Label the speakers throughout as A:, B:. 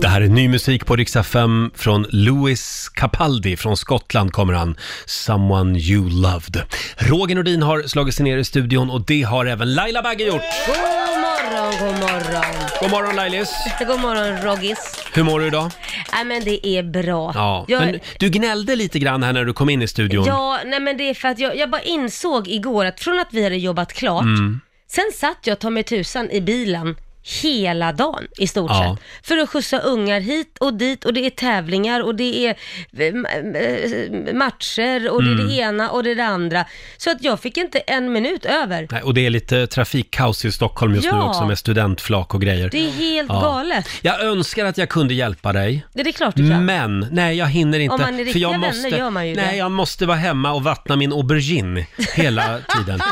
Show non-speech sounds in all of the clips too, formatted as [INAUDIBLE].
A: Det här är ny musik på Riksa 5 från Louis Capaldi. Från Skottland kommer han. Someone you loved. Roger Nordin har slagit sig ner i studion och det har även Laila Bagge gjort.
B: God morgon, god morgon.
A: God morgon Lailis!
B: God morgon Roggis.
A: Hur mår du idag?
B: Nej men det är bra.
A: Ja,
B: jag,
A: men du gnällde lite grann här när du kom in i studion.
B: ja nej men det är för att jag, jag bara insåg igår att från att vi hade jobbat klart,
A: Mm.
B: sen satt jag ta mig tusan i bilen hela dagen i stort
A: Ja.
B: sett. För att skjutsa ungar hit och dit och det är tävlingar och det är eh, ma- eh, matcher och det är det
A: Mm.
B: ena och det är det andra. Så att jag fick inte en minut över.
A: Nej, och det är lite trafikkaos i Stockholm just nu
B: Ja.
A: också med studentflak och grejer.
B: Det är helt
A: Ja.
B: galet.
A: Jag önskar att jag kunde hjälpa dig.
B: Det är klart du kan.
A: Men, nej jag hinner inte.
B: Om man är riktiga
A: jag
B: vänner gör man ju det.
A: Nej, jag måste vara hemma och vattna min aubergine hela
B: [LAUGHS]
A: tiden.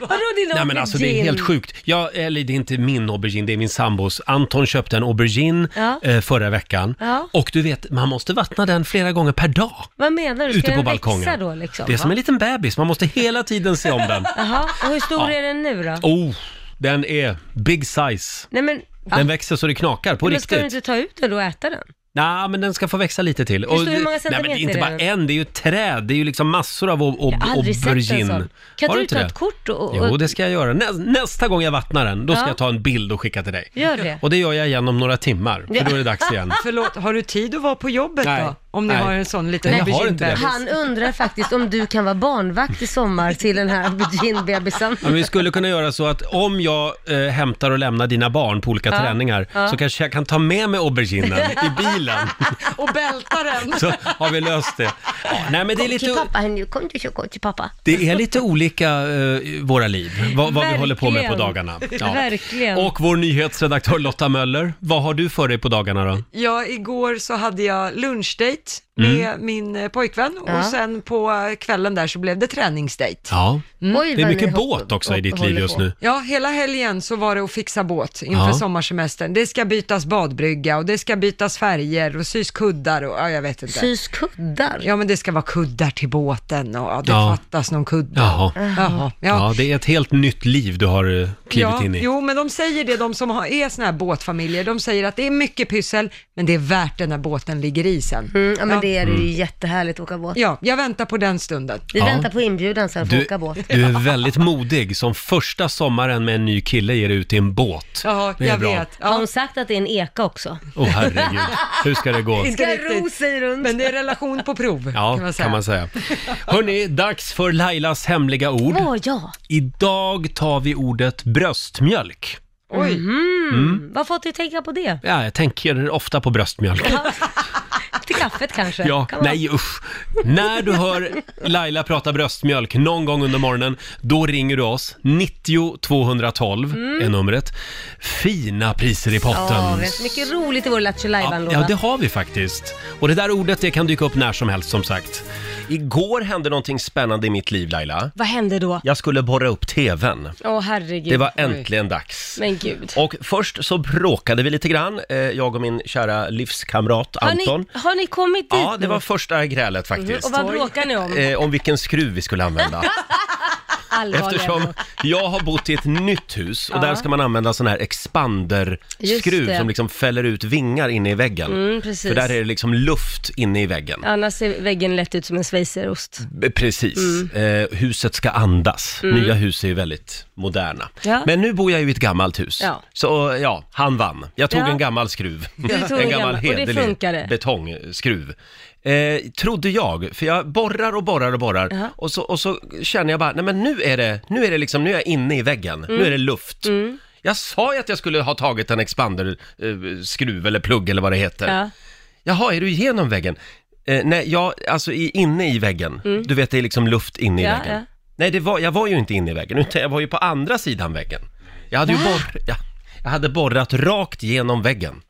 B: Vadå din
A: Nej men alltså det är
B: aubergine?
A: helt sjukt. Jag, eller det är inte min aubergine, det är min sambos. Anton köpte en aubergine
B: Ja.
A: eh, förra veckan.
B: Ja.
A: Och du vet, man måste vattna den flera gånger per dag.
B: Vad menar du? Ska
A: Ute på
B: den
A: balkongen.
B: växa då liksom?
A: det är som en liten bebis, man måste hela tiden se om
B: [LAUGHS]
A: den.
B: Jaha, och hur
A: Ja.
B: stor är den nu då?
A: Oh, den är big size.
B: Nej men,
A: Den växer så det knakar, på
B: men ska
A: riktigt.
B: du inte ta ut den då och äta den?
A: Nej, men den ska få växa lite till.
B: Förstår du hur många
A: nej, men det är inte
B: centimeter
A: bara
B: är den?
A: en, det är ju ett träd. Det är ju liksom massor av ob-
B: Jag har
A: ob-
B: aldrig sett en
A: aubergine.
B: sån. Kan
A: Har
B: inte
A: du
B: du
A: det?
B: ta ett kort och... och
A: Jo, det ska jag göra. Nä, nästa gång jag vattnar den, då ska
B: Ja.
A: jag ta en bild och skicka till dig.
B: Gör det.
A: Och det gör jag igen om några timmar, för då är det dags igen.
C: Förlåt, har du tid att vara på jobbet
A: Nej.
C: då? Om ni
A: Nej.
C: har en sån liten
A: Nej, jag har inte det.
C: auberginebebis.
B: Han undrar faktiskt om du kan vara barnvakt i sommar till den här auberginebebisen.
A: Ja, men vi skulle kunna göra så att om jag eh, hämtar och lämnar dina barn på olika träningar
B: ja.
A: så kanske jag kan ta med mig auberginen i
B: [LAUGHS]
A: bilen.
C: Och bälta den.
A: [LAUGHS] Så har vi löst det. Ja, nej, men det är
B: Kom till
A: lite...
B: pappa här nu, kom till, kom till pappa.
A: Det är lite olika eh, våra liv, vad, vad vi
B: Verkligen.
A: håller på med på dagarna.
B: Verkligen.
A: Och vår nyhetsredaktör Lotta Möller, vad har du för dig på dagarna då?
C: Ja, igår så hade jag lunchdate med
A: Mm.
C: min eh, pojkvän
B: Ja.
C: och sen på eh, kvällen där så blev det träningsdate.
A: Ja,
B: Oj,
A: det är
B: vad
A: mycket
B: ni hopp-
A: båt också i
B: hopp-
A: ditt liv
B: håller
A: just
B: på.
A: nu.
C: Ja, hela helgen så var det att fixa båt inför
A: Ja.
C: sommarsemestern. Det ska bytas badbrygga och det ska bytas färger och sys kuddar och ja, jag vet inte.
B: Sys kuddar.
C: Ja, men det ska vara kuddar till båten och ja, det
A: Ja.
C: fattas någon kudde.
A: Jaha.
C: Jaha, ja.
A: Ja, det är ett helt nytt liv du har eh, klivit
C: Ja,
A: in i.
C: jo, men de säger det, de som har, är såna här båtfamiljer, de säger att det är mycket pyssel, men det är värt det när båten ligger i sen.
B: Mm, ja men
C: Ja.
B: det är ju jättehärligt att åka båt.
C: Ja, jag väntar på den stunden.
B: Vi
A: Ja.
B: väntar på inbjudan sen för att
A: Du,
B: åka båt.
A: du är väldigt modig som första sommaren med en ny kille ger ut i en båt.
C: Ja,
A: Det är
C: jag
A: bra.
C: vet.
B: Har
C: Ja.
B: hon sagt att det är en eka också?
A: Åh herregud, hur ska det
B: [LAUGHS]
A: gå?
B: Ska ro sig runt.
C: Men det är relation på prov,
A: Ja,
C: kan man säga.
A: kan man säga. Hörni, dags för Lailas hemliga ord.
B: Åh ja,
A: Idag tar vi ordet bröstmjölk.
C: Oj,
B: mm. vad fått dig tänka på det?
A: Ja, jag tänker ofta på bröstmjölk.
B: Till kaffet kanske?
A: Ja,
B: Kan man-
A: nej usch. När du hör Laila prata bröstmjölk någon gång under morgonen, då ringer du oss. 90 212 är numret. Fina priser i potten.
B: Mm. Ja, rätt mycket roligt i vår Lattjo
A: Ja,
B: Lajban-låda.
A: ja, det har vi faktiskt. Och det där ordet det kan dyka upp när som helst som sagt. Igår hände någonting spännande i mitt liv Laila.
B: Vad hände då?
A: Jag skulle borra upp TVn.
B: Åh herregud.
A: Det var äntligen dags.
B: Men gud.
A: Och först så bråkade vi lite grann, eh, jag och min kära livskamrat
B: Har
A: Anton.
B: ni, har ni kommit dit
A: Ja, det
B: nu?
A: var första grälet faktiskt.
B: Mhm. Och vad bråkar ni om?
A: Eh, om vilken skruv vi skulle
B: [LAUGHS]
A: använda.
B: Allvarliga
A: Eftersom
B: bråk.
A: jag har bott i ett nytt hus och
B: Ja.
A: där ska man använda sån här
B: Just
A: expanderskruv
B: det.
A: som liksom fäller ut vingar inne i väggen.
B: Mm, precis.
A: För där är det liksom luft inne i väggen.
B: Annars ser väggen lätt ut som en schweizerost.
A: B- Precis.
B: Mm.
A: Eh, huset ska andas. Nya hus är ju väldigt moderna.
B: Ja.
A: Men nu bor jag ju i ett gammalt hus.
B: Ja.
A: Så ja, han vann. Jag tog [LAUGHS]
B: Ja.
A: en gammal skruv.
B: tog en gammal, och det funkade.
A: betongskruv. Eh, trodde jag, för jag borrar och borrar och borrar
B: Ja.
A: och, så, och så känner jag bara, nej men nu är det, nu är det liksom, nu är jag inne i väggen,
B: Mm.
A: nu är det luft. Jag sa ju att jag skulle ha tagit en expanderskruv eh, skruv eller plugg eller vad det heter.
B: Ja.
A: Jaha, är du igenom väggen? Eh, nej, jag, alltså i, inne i väggen. Du vet, det är liksom luft inne i
B: Mm. Ja,
A: väggen.
B: ja.
A: Nej, det var, jag var ju inte inne i väggen, utan jag var ju på andra sidan väggen. Jag hade ju borr, ja, jag hade borrat rakt genom väggen.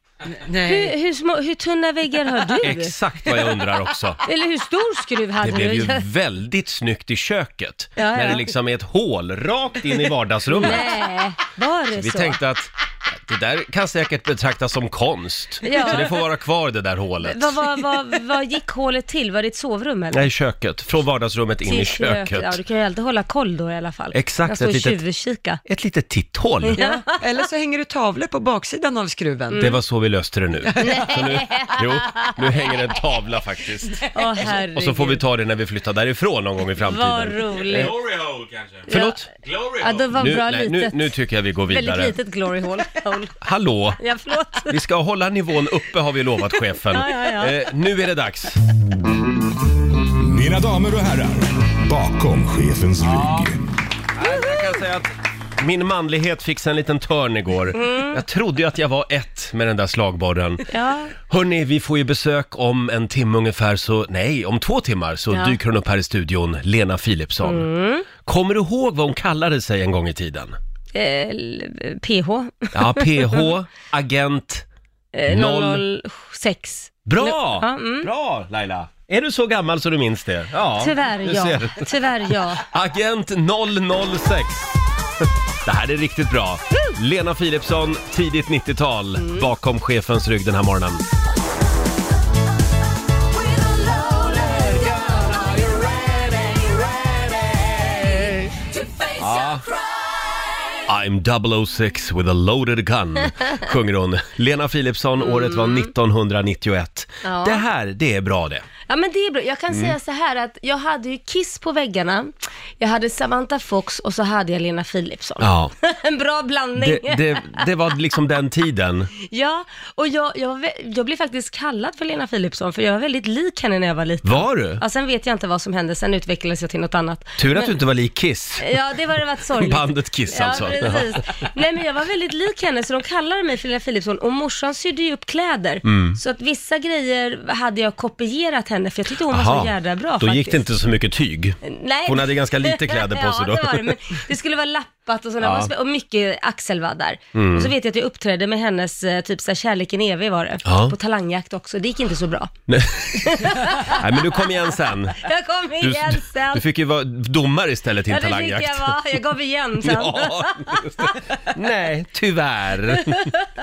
C: nej.
B: Hur, hur, små, hur tunna väggar har
A: [LAUGHS]
B: du?
A: Exakt vad jag undrar
B: [LAUGHS]
A: också.
B: Eller hur stor skruv hade
A: Det blev ju
B: du?
A: väldigt snyggt i köket,
B: Ja,
A: när
B: ja. [LAUGHS]
A: det liksom är ett hål rakt in i vardagsrummet.
B: [LAUGHS] Nej, var det
A: Vi
B: så?
A: tänkte att Det där kan säkert betraktas som konst.
B: Ja.
A: Så det får vara kvar det där hålet.
B: Vad, vad, vad, vad gick hålet till? Var det ett sovrum eller?
A: Nej, köket. Från vardagsrummet in i
B: Till kröket.
A: köket.
B: Ja, du kan ju alltid hålla koll då i alla fall.
A: Exakt,
B: Jag står
A: ett
B: och
A: litet-
B: tjuvkika.
A: Ett litet titthål.
B: Mm.
C: Ja. Eller så hänger du tavlor på baksidan av skruven.
A: Det var så vi löste det nu.
B: [LAUGHS]
A: Så nu jo, nu hänger en tavla faktiskt.
B: Åh
A: Och så får vi
B: herregud.
A: ta det när vi flyttar därifrån någon gång i framtiden.
B: Vad
A: Eh,
B: roligt.
D: Glory hole kanske?
A: Förlåt?
D: Glory
B: Ja, det
D: hole?
B: var
A: Nu,
B: bra
A: nej, nu,
B: litet.
A: nu tycker jag vi går
B: Väldigt
A: vidare.
B: litet glory hole. hole.
A: Hallå!
B: Ja, förlåt.
A: [LAUGHS] Vi ska hålla nivån uppe har vi lovat chefen.
B: Ja, ja, ja.
A: Eh, nu är det dags.
E: Mina damer och herrar, bakom chefens rygg.
A: Jag kan säga att min manlighet fick sig en liten törn igår.
B: Mm.
A: Jag trodde ju att jag var ett med den där slagborren.
B: Ja.
A: Hörni, vi får ju besök om en timme ungefär, så nej, om två timmar så
B: Ja. Mm.
A: dyker hon upp här i studion, Lena Philipsson. Kommer du ihåg vad hon kallade sig en gång i tiden?
B: Eh, l- PH.
A: Ja,
B: [LAUGHS]
A: PH, agent,
B: Eh,
A: noll.
B: 006.
A: Bra!
B: Ja, mm.
A: Bra Laila! Är du så gammal så du minns det? Ja,
B: Tyvärr
A: du
B: ja.
A: ser.
B: Tyvärr ja.
A: Agent 006. [LAUGHS] Det här är riktigt bra. Lena Philipsson, tidigt 90-tal, bakom chefens rygg den här morgonen. Ah, I'm 006 with a loaded gun, sjunger hon. Lena Philipsson, året var 1991.
B: Ja.
A: Det här, det är bra det.
B: Ja men det är bra. Jag
A: Mm.
B: kan säga så här att jag hade ju Kiss på väggarna, jag hade Samantha Fox och så hade jag Lena Philipsson.
A: Ja.
B: [LAUGHS] En bra blandning.
A: Det, det, det var liksom den tiden.
B: [LAUGHS] Ja, och jag, jag, var vä- jag blev faktiskt kallad för Lena Philipsson för jag var väldigt lik henne när jag var liten.
A: Var du?
B: Ja, sen vet jag inte vad som hände, sen utvecklades jag till något annat.
A: Tur att du inte var lik Kiss.
B: Ja, det var det varit sorgligt.
A: [LAUGHS] Bandet Kiss alltså.
B: Ja, precis. Nej, men jag var väldigt lik henne, så de kallade mig för Lena Philipsson och morsan sydde ju upp kläder.
A: Mm.
B: Så att vissa grejer hade jag kopierat henne, för jag tyckte hon var så jädra bra
A: då
B: faktiskt.
A: gick det inte så mycket tyg.
B: Nej.
A: Hon hade ganska lite kläder på sig då.
B: [LAUGHS] Ja, det var det. Men det skulle vara lappat och sådana,
A: Ja. Mm.
B: och mycket axelvaddar. Och så vet jag att jag uppträdde med hennes, eh, typ såhär, Kärleken är evig var det.
A: Ja.
B: På talangjakt också, det gick inte så bra. [LAUGHS]
A: Nej. Nej, men du kom igen sen.
B: Jag kom
A: Du,
B: igen sen.
A: du fick ju vara domare istället i en
B: ja, det fick
A: talangjakt.
B: jag vara. Jag gav igen sen.
A: [LAUGHS] Ja, just det. Nej,
B: [LAUGHS]
A: tyvärr.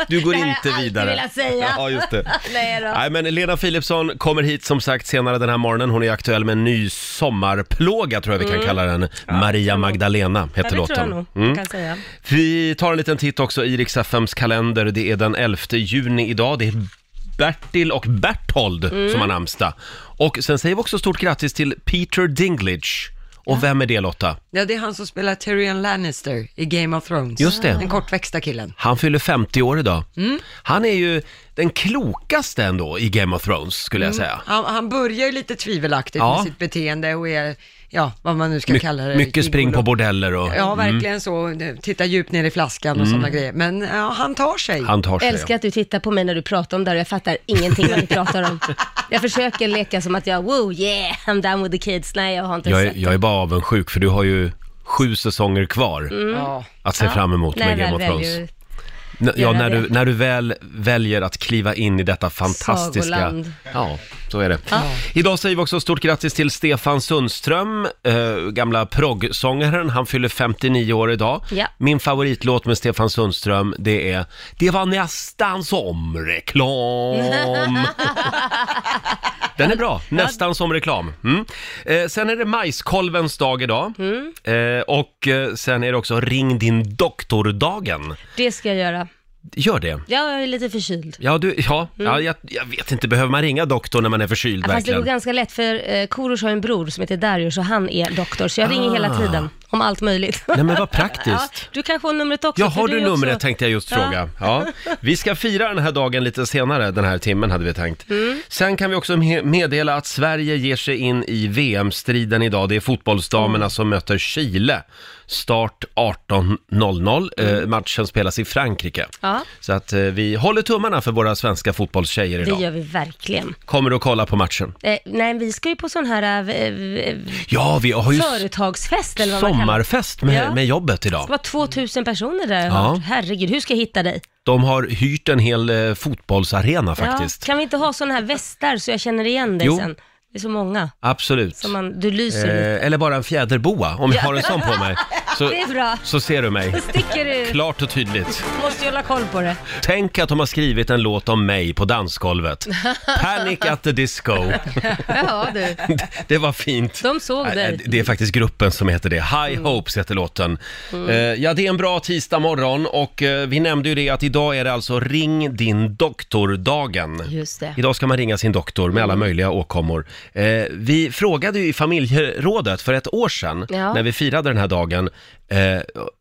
A: Du går
B: Det här har jag
A: inte
B: alltid
A: vidare.
B: velat säga.
A: Ja, just det.
B: [LAUGHS] [LAUGHS] Nej då.
A: Nej, men Lena Philipsson kommer hit som sagt senare den här morgonen. Hon är aktuell med en ny sommarplåga tror jag vi kan kalla den. Maria Magdalena
B: Mm.
A: heter
B: Ja, det tror
A: låten.
B: jag nog, jag kan säga.
A: Vi tar en liten titt också i riks FMs kalender. Det är den 11 juni idag. Det är Bertil och Berthold
C: Mm.
A: som har namnsdag. Och sen säger vi också stort grattis till Peter Dinklage. Och vem är det Lotta?
C: Ja, det är han som spelar Tyrion Lannister i Game of Thrones.
A: Just det.
C: Den kortväxta killen.
A: Han fyller 50 år idag.
C: Mm.
A: Han är ju den klokaste ändå i Game of Thrones skulle jag säga.
C: Han, han börjar ju lite tvivelaktigt
A: Ja.
C: med sitt beteende och är, ja, vad man nu ska
A: My-
C: kalla det.
A: mycket spring på
C: gigolo.
A: bordeller och
C: Ja, verkligen så. Titta djupt ner i flaskan och sådana grejer. Men ja, han tar sig.
A: Mm. han tar sig.
B: Älskar att du tittar på mig när du pratar om det här och jag fattar ingenting
A: [LAUGHS]
B: vad ni pratar om. Jag försöker leka som att jag, wow, yeah, I'm down with the kids. Nej, jag har inte
A: Jag är,
B: sett.
A: jag är bara avundsjuk för du har ju sju säsonger kvar
C: Mm. Ja.
A: att se fram emot
B: Nej,
A: med Game
B: väl
A: of Thrones.
B: väljer
A: N- ja,
B: göra
A: när
B: det.
A: du, när du väl väljer att kliva in i detta fantastiska...
B: Sagoland.
A: Ja, så är det. Idag säger vi också stort grattis till Stefan Sundström, eh, gamla proggsångaren. Han fyller 59 år idag.
B: Ja.
A: Min favoritlåt med Stefan Sundström, det är “Det var nästan som
B: [LAUGHS]
A: reklam”. Den är bra, nästan som reklam. Mm. Eh, sen är det majskolvens dag idag.
B: Mm.
A: Eh, och eh, sen är det också ring din doktor-dagen.
B: Det ska jag göra.
A: Gör det.
B: Ja, Jag är lite förkyld.
A: Ja, du, ja, ja jag, jag vet inte, behöver man ringa doktorn när man är förkyld
B: Mm. Ja, Fast det går
A: verkligen?
B: ganska lätt för eh, Korosh har en bror som heter Darius och han är doktor, så jag ringer
A: Ah.
B: hela tiden om allt möjligt. [LAUGHS]
A: Nej men vad
B: Ja,
A: praktiskt.
B: du kanske har numret också?
A: Ja,
B: för
A: har
B: det
A: du
B: är också-
A: numret tänkte jag just
B: Ja.
A: fråga.
B: [LAUGHS]
A: Ja. Vi ska fira den här dagen lite senare, den här timmen hade vi tänkt.
B: Mm.
A: Sen kan vi också me- meddela att Sverige ger sig in i VM-striden idag. Det är fotbollsdamerna
B: Mm.
A: som möter Chile. Start 18.00. Eh, matchen spelas i Frankrike.
B: Mm. Ja.
A: Så att eh, vi håller tummarna för våra svenska fotbollstjejer
B: Det
A: idag.
B: gör vi verkligen.
A: Kommer du att kolla på matchen?
B: Eh, nej, vi ska ju på sån här eh, eh,
A: Ja, vi har ju
B: företagsfest eller vad man kallar det.
A: sommarfest med,
B: Ja.
A: med jobbet idag.
B: Det var 2000 personer där jag
A: Ja.
B: hört. Herregud, hur ska jag hitta dig?
A: De har hyrt en hel eh, fotbollsarena faktiskt.
B: Ja, kan vi inte ha sådana här västar så jag känner igen dig
A: Jo. Eh.
B: sen? Det är så många.
A: Absolut.
B: Som man, du lyser lite. [LAUGHS]
A: Eh, eller bara en fjäderboa, om jag har en sån på mig. Så,
B: Det är bra.
A: så ser du mig.
B: Då sticker du.
A: Klart och tydligt.
B: Måste ju hålla koll på det.
A: Tänk att de har skrivit en låt om mig på
B: [LAUGHS]
A: dansgolvet. Panic at the disco.
B: Ja, du.
A: Det var fint.
B: De såg
A: Nej,
B: dig.
A: nej, Det är faktiskt gruppen som heter det. High
B: Mm.
A: Hopes heter låten. Eh, Ja, det är en bra tisdag morgon och eh, vi nämnde ju det att idag är det alltså ring din doktor-dagen.
B: Just det.
A: Idag ska man ringa sin doktor med
B: Mm.
A: alla möjliga åkommor. Eh, vi frågade ju i familjerådet för ett år sedan,
B: Ja.
A: när vi firade den här dagen. Eh,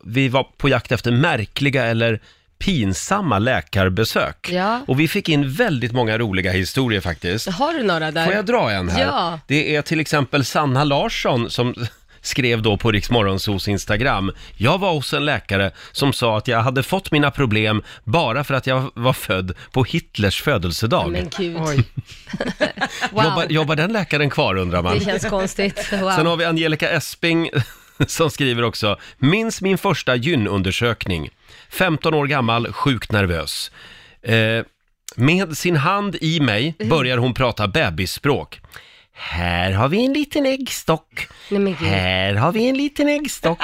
A: vi var på jakt efter märkliga eller pinsamma läkarbesök.
B: Ja.
A: Och vi fick in väldigt många roliga historier faktiskt.
B: Har du några där?
A: Får jag dra en här?
B: Ja.
A: Det är till exempel Sanna Larsson som skrev då på Riksmorgonsos Instagram. Jag var hos en läkare som sa att jag hade fått mina problem bara för att jag var född på Hitlers födelsedag.
B: Men gud.
C: Oj.
B: [LAUGHS] Wow.
A: Jobbar, jobbar den läkaren kvar undrar man?
B: Det känns konstigt.
A: Sen
B: Wow.
A: har vi Angelica Esping [LAUGHS] som skriver också, minns min första gynundersökning. 15 år gammal, sjukt nervös. Eh, med sin hand i mig börjar hon prata bebisspråk. Här har vi en liten äggstock.
B: Nej, men gud.
A: Här har vi en liten äggstock.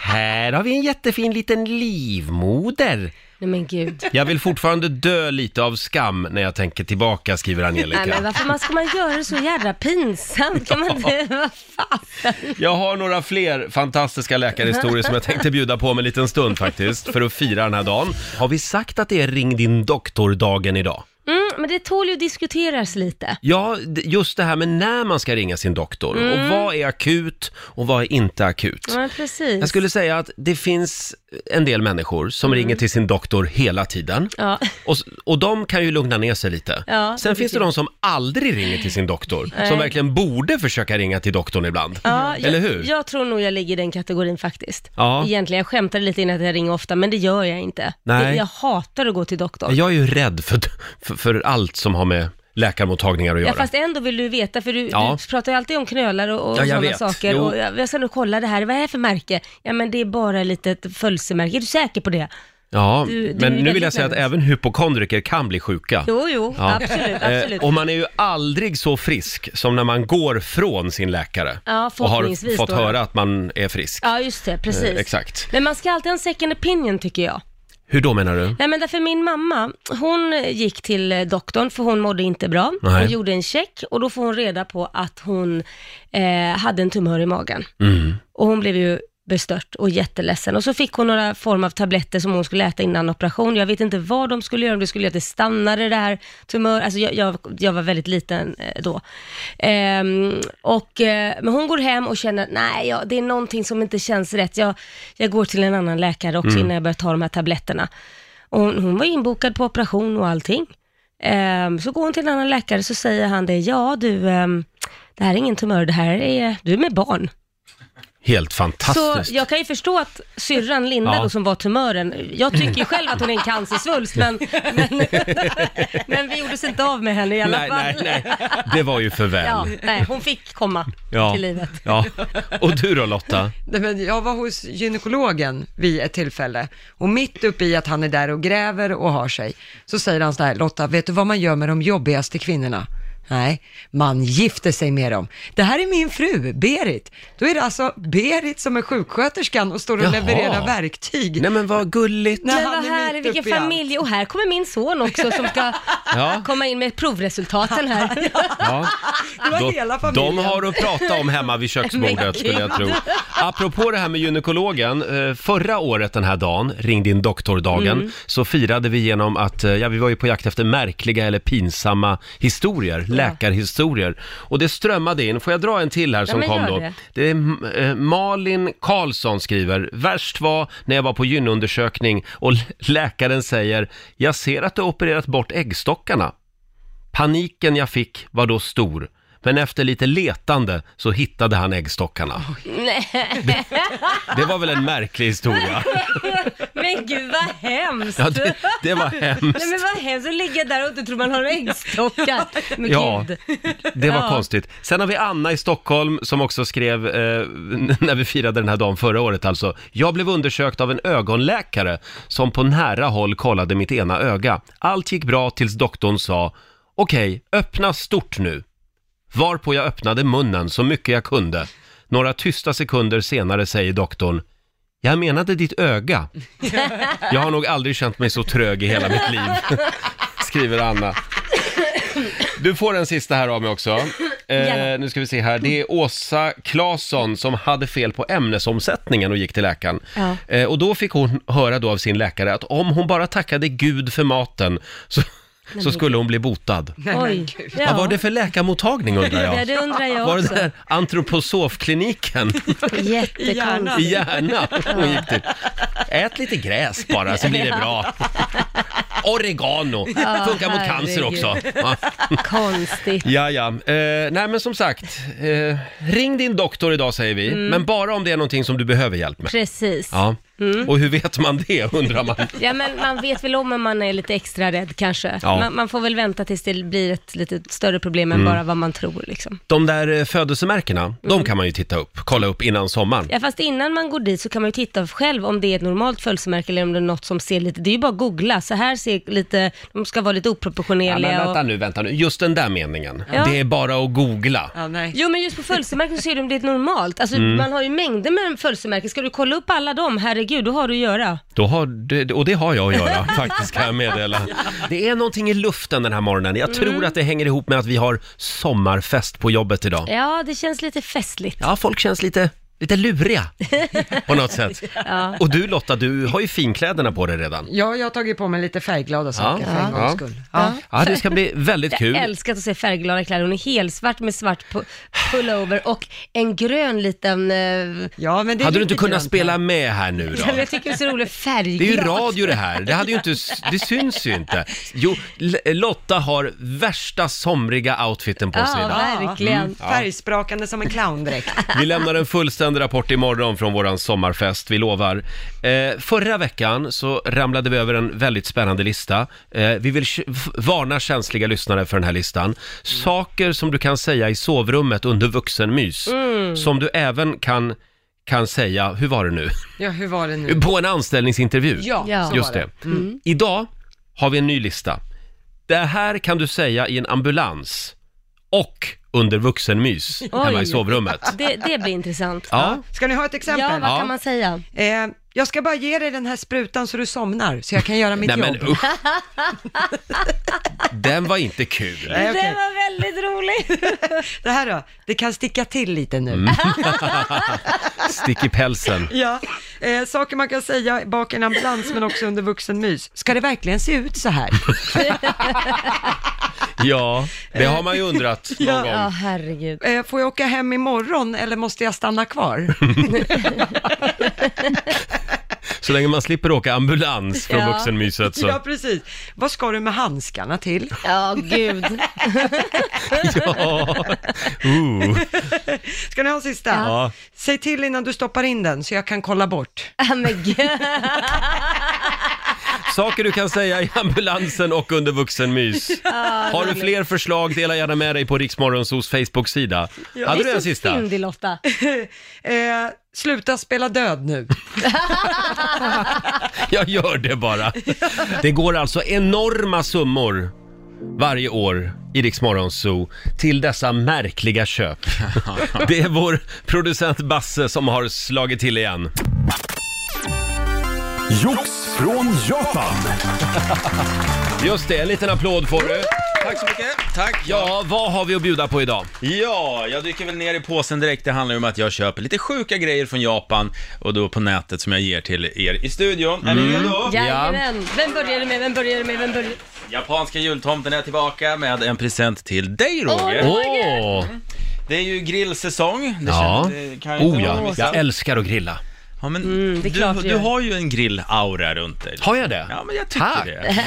A: Här har vi en jättefin liten livmoder.
B: Nej men gud.
A: Jag vill fortfarande dö lite av skam när jag tänker tillbaka, skriver Angelica.
B: Nej men varför man, ska man göra det så jävla pinsamt?
A: [LAUGHS]
B: Kan man inte, vad fan?
A: Jag har några fler fantastiska läkarhistorier som jag tänkte bjuda på om en liten stund faktiskt, för att fira den här dagen. Har vi sagt att det är ring din doktor-dagen idag?
B: [LAUGHS] Mm, men det tål ju att diskuteras lite.
A: Ja, d- just det här med när man ska ringa sin doktor och vad är akut och vad är inte akut.
B: Mm. Ja, men precis.
A: Jag skulle säga att det finns en del människor som ringer till sin doktor hela tiden.
B: Mm. Ja.
A: Och, s- och de kan ju lugna ner sig lite.
B: Ja,
A: Sen
B: det
A: finns det
B: tycker
A: de som aldrig ringer till sin doktor,
B: Nej.
A: som verkligen borde försöka ringa till doktorn ibland.
B: Ja,
A: Eller hur?
B: Jag, jag tror nog jag ligger i den kategorin faktiskt.
A: Ja.
B: Egentligen, jag skämtade lite innan att jag ringer ofta, men det gör jag inte.
A: Nej.
B: Det, jag hatar att gå till doktorn.
A: Jag är ju rädd för, för, för allt som har med läkarmottagningar att göra.
B: Ja, fast ändå vill du veta, för du,
A: Ja.
B: du pratar ju alltid om knölar och, och
A: Ja, jag
B: sådana
A: vet.
B: saker.
A: Jo.
B: Och jag, jag ska nu kolla det här, vad är det för märke? Ja, men det är bara ett litet födelsemärke. Är du säker på det?
A: ja,
B: Du- du är
A: men nu vill jag
B: väldigt
A: säga att
B: nervös.
A: även hypokondriker kan bli sjuka.
B: Jo, jo,
A: Ja.
B: absolut,
A: Eh,
B: absolut.
A: Och man är ju aldrig så frisk som när man går från sin läkare
B: Ja,
A: och har
B: förhoppningsvis
A: fått
B: då.
A: höra att man är frisk.
B: Ja, just det, precis.
A: Eh, exakt.
B: Men man ska alltid ha en second opinion tycker jag.
A: Hur då menar du?
B: Nej men därför min mamma, hon gick till eh, doktorn för hon mådde inte bra.
A: Nej.
B: Hon gjorde en check och då får hon reda på att hon eh, hade en tumör i magen.
A: Mm.
B: Och hon blev ju bestört och jätteledsen. Och så fick hon några form av tabletter som hon skulle äta innan operation. Jag vet inte vad de skulle göra, om det skulle göra att det stannade det här tumör... Alltså jag, jag, jag var väldigt liten eh, då. Ehm, och, eh, men hon går hem och känner, nej, jag, det är någonting som inte känns rätt. Jag, jag går till en annan läkare också innan jag börjar ta de här tabletterna. Och hon, hon var inbokad på operation och allting. Ehm, så går hon till en annan läkare så säger han det, ja du, ehm, det här är ingen tumör, det här är, du är med barn.
A: Helt
B: Så
A: fantastiskt.
B: jag kan ju förstå att syrran Linda
A: Ja.
B: då, som var tumören, jag tycker ju själv att hon är en
A: [LAUGHS]
B: cancersvulst, men, men, men vi gjorde oss inte av med henne i alla
A: Nej,
B: fall.
A: nej, nej. Det var ju för väl.
B: Ja, nej, hon fick komma
A: Ja.
B: till livet.
A: Ja. Och du då Lotta?
C: Nej, men jag var hos gynekologen vid ett tillfälle och mitt uppe i att han är där och gräver och har sig så säger han så här, Lotta, vet du vad man gör med de jobbigaste kvinnorna? Nej, man gifter sig med dem. Det här är min fru, Berit. Då är det alltså Berit som är sjuksköterskan och står och
A: Jaha.
C: levererar verktyg.
A: Nej men vad gulligt.
C: när
B: Men
C: han
B: vad
C: är mitt
B: härligt, vilken
C: uppe i allt.
B: familj. Och här kommer min son också som ska
A: Ja.
B: komma in med provresultaten här.
A: Ja.
C: Det var
A: Då-
C: hela familjen.
A: de har att prata om hemma vid
B: [LAUGHS] Men
A: köksbordet skulle jag tro. Apropå det här med gynekologen, eh, förra året den här dagen, ring din doktordagen,
B: Mm.
A: så firade vi genom att, eh, ja vi var ju på jakt efter märkliga eller pinsamma historier, läkarhistorier. Och det strömmade in, får jag dra en till här som
B: men
A: kom
B: gör
A: då?
B: det.
A: Det är M- eh, Malin Karlsson skriver, värst var när jag var på gynundersökning och l- läkaren säger, jag ser att du har opererat bort äggstockarna. Paniken jag fick var då stor, men efter lite letande så hittade han äggstockarna. Det, det var väl en märklig historia?
B: [LAUGHS] Men gud vad
A: [LAUGHS]
B: hemskt.
A: Ja, det, det var hemskt.
B: Nej men vad hemskt att ligga där och inte tro man har äggstockar. Men
A: Ja,
B: gud.
A: det var
B: Ja.
A: konstigt. Sen har vi Anna i Stockholm som också skrev, eh, [LAUGHS] när vi firade den här dagen förra året alltså, jag blev undersökt av en ögonläkare som på nära håll kollade mitt ena öga. Allt gick bra tills doktorn sa, okej, öppna stort nu. Varpå jag öppnade munnen så mycket jag kunde. Några tysta sekunder senare säger doktorn, Jag menade ditt öga. Jag har nog aldrig känt mig så trög i hela mitt liv, skriver Anna. Du får en sista här av mig också. Eh,
B: Gärna.
A: nu ska vi se här. Det är Åsa Claesson som hade fel på ämnesomsättningen och gick till läkaren.
B: Ja.
A: Eh, och då fick hon höra då av sin läkare att om hon bara tackade Gud för maten så, så skulle hon bli botad.
C: Nej, men
B: Oj.
C: gud.
B: Ja.
A: Vad var det för läkarmottagning undrar
B: [LAUGHS] Ja,
A: jag?
B: det undrar jag
A: Var det [LAUGHS]
B: också.
A: där antroposofkliniken
B: Jättekonstigt.
A: i Järna hon gick till? Ät lite gräs bara så blir det bra. Oregano, funkar mot cancer
B: herregud.
A: också. Ja.
B: Konstigt.
A: Ja, ja. Eh, nej, men som sagt, eh, ring din doktor idag säger vi,
B: Mm.
A: men bara om det är någonting som du behöver hjälp med.
B: Precis. Ja.
A: Ja.
B: Mm.
A: Och hur vet man det, undrar man.
B: men man vet väl om att man är lite extra rädd kanske.
A: Ja. Mm.
B: Man, man får väl vänta tills det blir ett lite större problem än bara vad man tror liksom.
A: De där eh, födelsemärkena,
B: Mm.
A: de kan man ju titta upp, kolla upp innan sommaren.
B: Ja, fast innan man går dit så kan man ju titta själv om det är ett normalt födelsemärke eller om det är något som ser lite, det är ju bara att googla, så här ser lite, de ska vara lite
A: Ja, men
B: oproportionerliga
A: vänta
B: och...
A: nu, vänta nu. Just den där meningen.
B: Ja.
A: Det är bara att googla.
C: Ja, nej.
B: Jo men just på födelsemärken så ser du om det är ett normalt, alltså
A: Mm.
B: man har ju mängder med födelsemärken, ska du kolla upp alla dem, herregud, då har du att göra.
A: Då har det, och det har jag att göra faktiskt, kan jag meddela. Det är någonting i luften den här morgonen. Jag tror att det hänger ihop med att vi har sommarfest på jobbet idag.
B: Ja, det känns lite festligt.
A: Ja, folk känns lite, lite luriga på något sätt. Och du Lotta, du har ju finkläderna på dig redan.
C: Ja, jag har tagit på mig lite färgglada saker för en
A: Ja.
C: gångs skull. Ja.
A: Ja, det ska bli väldigt
B: Jag
A: kul.
B: älskar att se färgglada kläder, hon är helsvart med svart pu- pullover och en grön liten... Eh...
C: Ja, men det
A: Hade
C: är
A: du
C: lite
A: inte kunnat
C: grönt
A: spela
C: här.
A: med här nu då?
B: [LAUGHS] Jag tycker det är så roligt,
A: Det är ju
B: färgglad.
A: radio det här. Det, hade ju inte, det syns ju inte. Jo, L- Lotta har värsta somriga outfiten på sig
B: Ja,
A: idag.
B: verkligen.
C: mm. Färgsprakande som en
B: [LAUGHS]
C: clowndräkt.
A: Vi lämnar en fullständig rapport imorgon från våran sommarfest, vi lovar. Eh, förra veckan så ramlade vi över en väldigt spännande lista. Eh, vi vill k- f- varna känsliga lyssnare för den här listan. Saker som du kan säga i sovrummet under vuxenmys, som du även kan, kan säga, hur var det nu? [LAUGHS]
C: Ja, hur var det nu?
A: På en anställningsintervju.
C: Ja,
B: Ja.
C: så
A: Just
C: var det.
A: det. Idag har vi en ny lista. Det här kan du säga i en ambulans och under vuxenmys hemma i
B: Oj.
A: sovrummet.
B: Det, det blir intressant.
A: Ja,
C: Ska ni ha ett
B: Ja,
C: exempel?
B: vad
A: Ja.
B: kan man säga?
C: Eh, jag ska bara ge dig den här sprutan så du somnar, så jag kan göra mitt
A: nej
C: jobb. Eh,
A: men usch. Den var inte kul.
C: Nej, okej.
B: Det var väldigt
A: [LAUGHS]
B: roligt.
C: Det här då, det kan sticka till lite nu.
A: Mm. Stick i pälsen.
C: [LAUGHS] Ja. Eh, saker man kan säga bak i en ambulans men också under vuxenmys. Ska det verkligen se ut
A: [LAUGHS]
C: så här?
A: Ja, det har man ju undrat någon
B: Ja,
A: gång.
B: herregud.
C: Eh, får jag åka hem imorgon eller måste jag stanna kvar?
A: Så länge man slipper åka ambulans från
B: Ja.
A: vuxenmyset [LAUGHS]
C: Ja,
A: så...
C: precis. Vad ska du med handskarna till?
B: Ja, gud.
A: [LAUGHS] Ja. Ooh.
C: Ska ni ha en sista?
A: Ja.
C: Säg till innan du stoppar in den så jag kan
A: [LAUGHS]
C: kolla bort.
B: Ja, men gud.
A: Saker du kan säga i ambulansen och under vuxenmys. Har du fler förslag, dela gärna med dig på Riksmorgonsos Facebook-sida. Hade du en
B: Det är så
A: sista?
B: fyndig, Lotta.
C: Eh, sluta spela död nu.
A: [LAUGHS] Jag gör det bara. Det går alltså enorma summor varje år i Riksmorgonso till dessa märkliga
D: [LAUGHS]
A: köp. Det är vår producent Basse som har slagit till igen.
E: Jox från Japan.
A: Just det, en liten applåd får du.
D: Tack så mycket. Tack. Ja.
A: Ja, vad har vi att bjuda på idag?
D: ja, jag dyker väl ner i påsen direkt. Det handlar ju om att jag köper lite sjuka grejer från Japan och då på nätet som jag ger till er i studion. Är
A: Mm.
D: ni redo?
B: Jajamän. Vem började med? Vem började med? Vem började?
D: Japanska jultomten är tillbaka med en present till dig Roger.
A: Åh!
D: Det är ju grillsäsong. Det
A: Ja.
D: känner- det kan jag inte
A: Oh
D: ha
A: ja,
D: missat.
A: jag Mm, älskar att grilla.
D: ja, men
B: det är klart
D: du,
B: du
D: du
B: gör.
D: har ju en grillaura runt dig.
A: Har jag det?
D: Ja, men jag tycker
A: Tack.
D: det.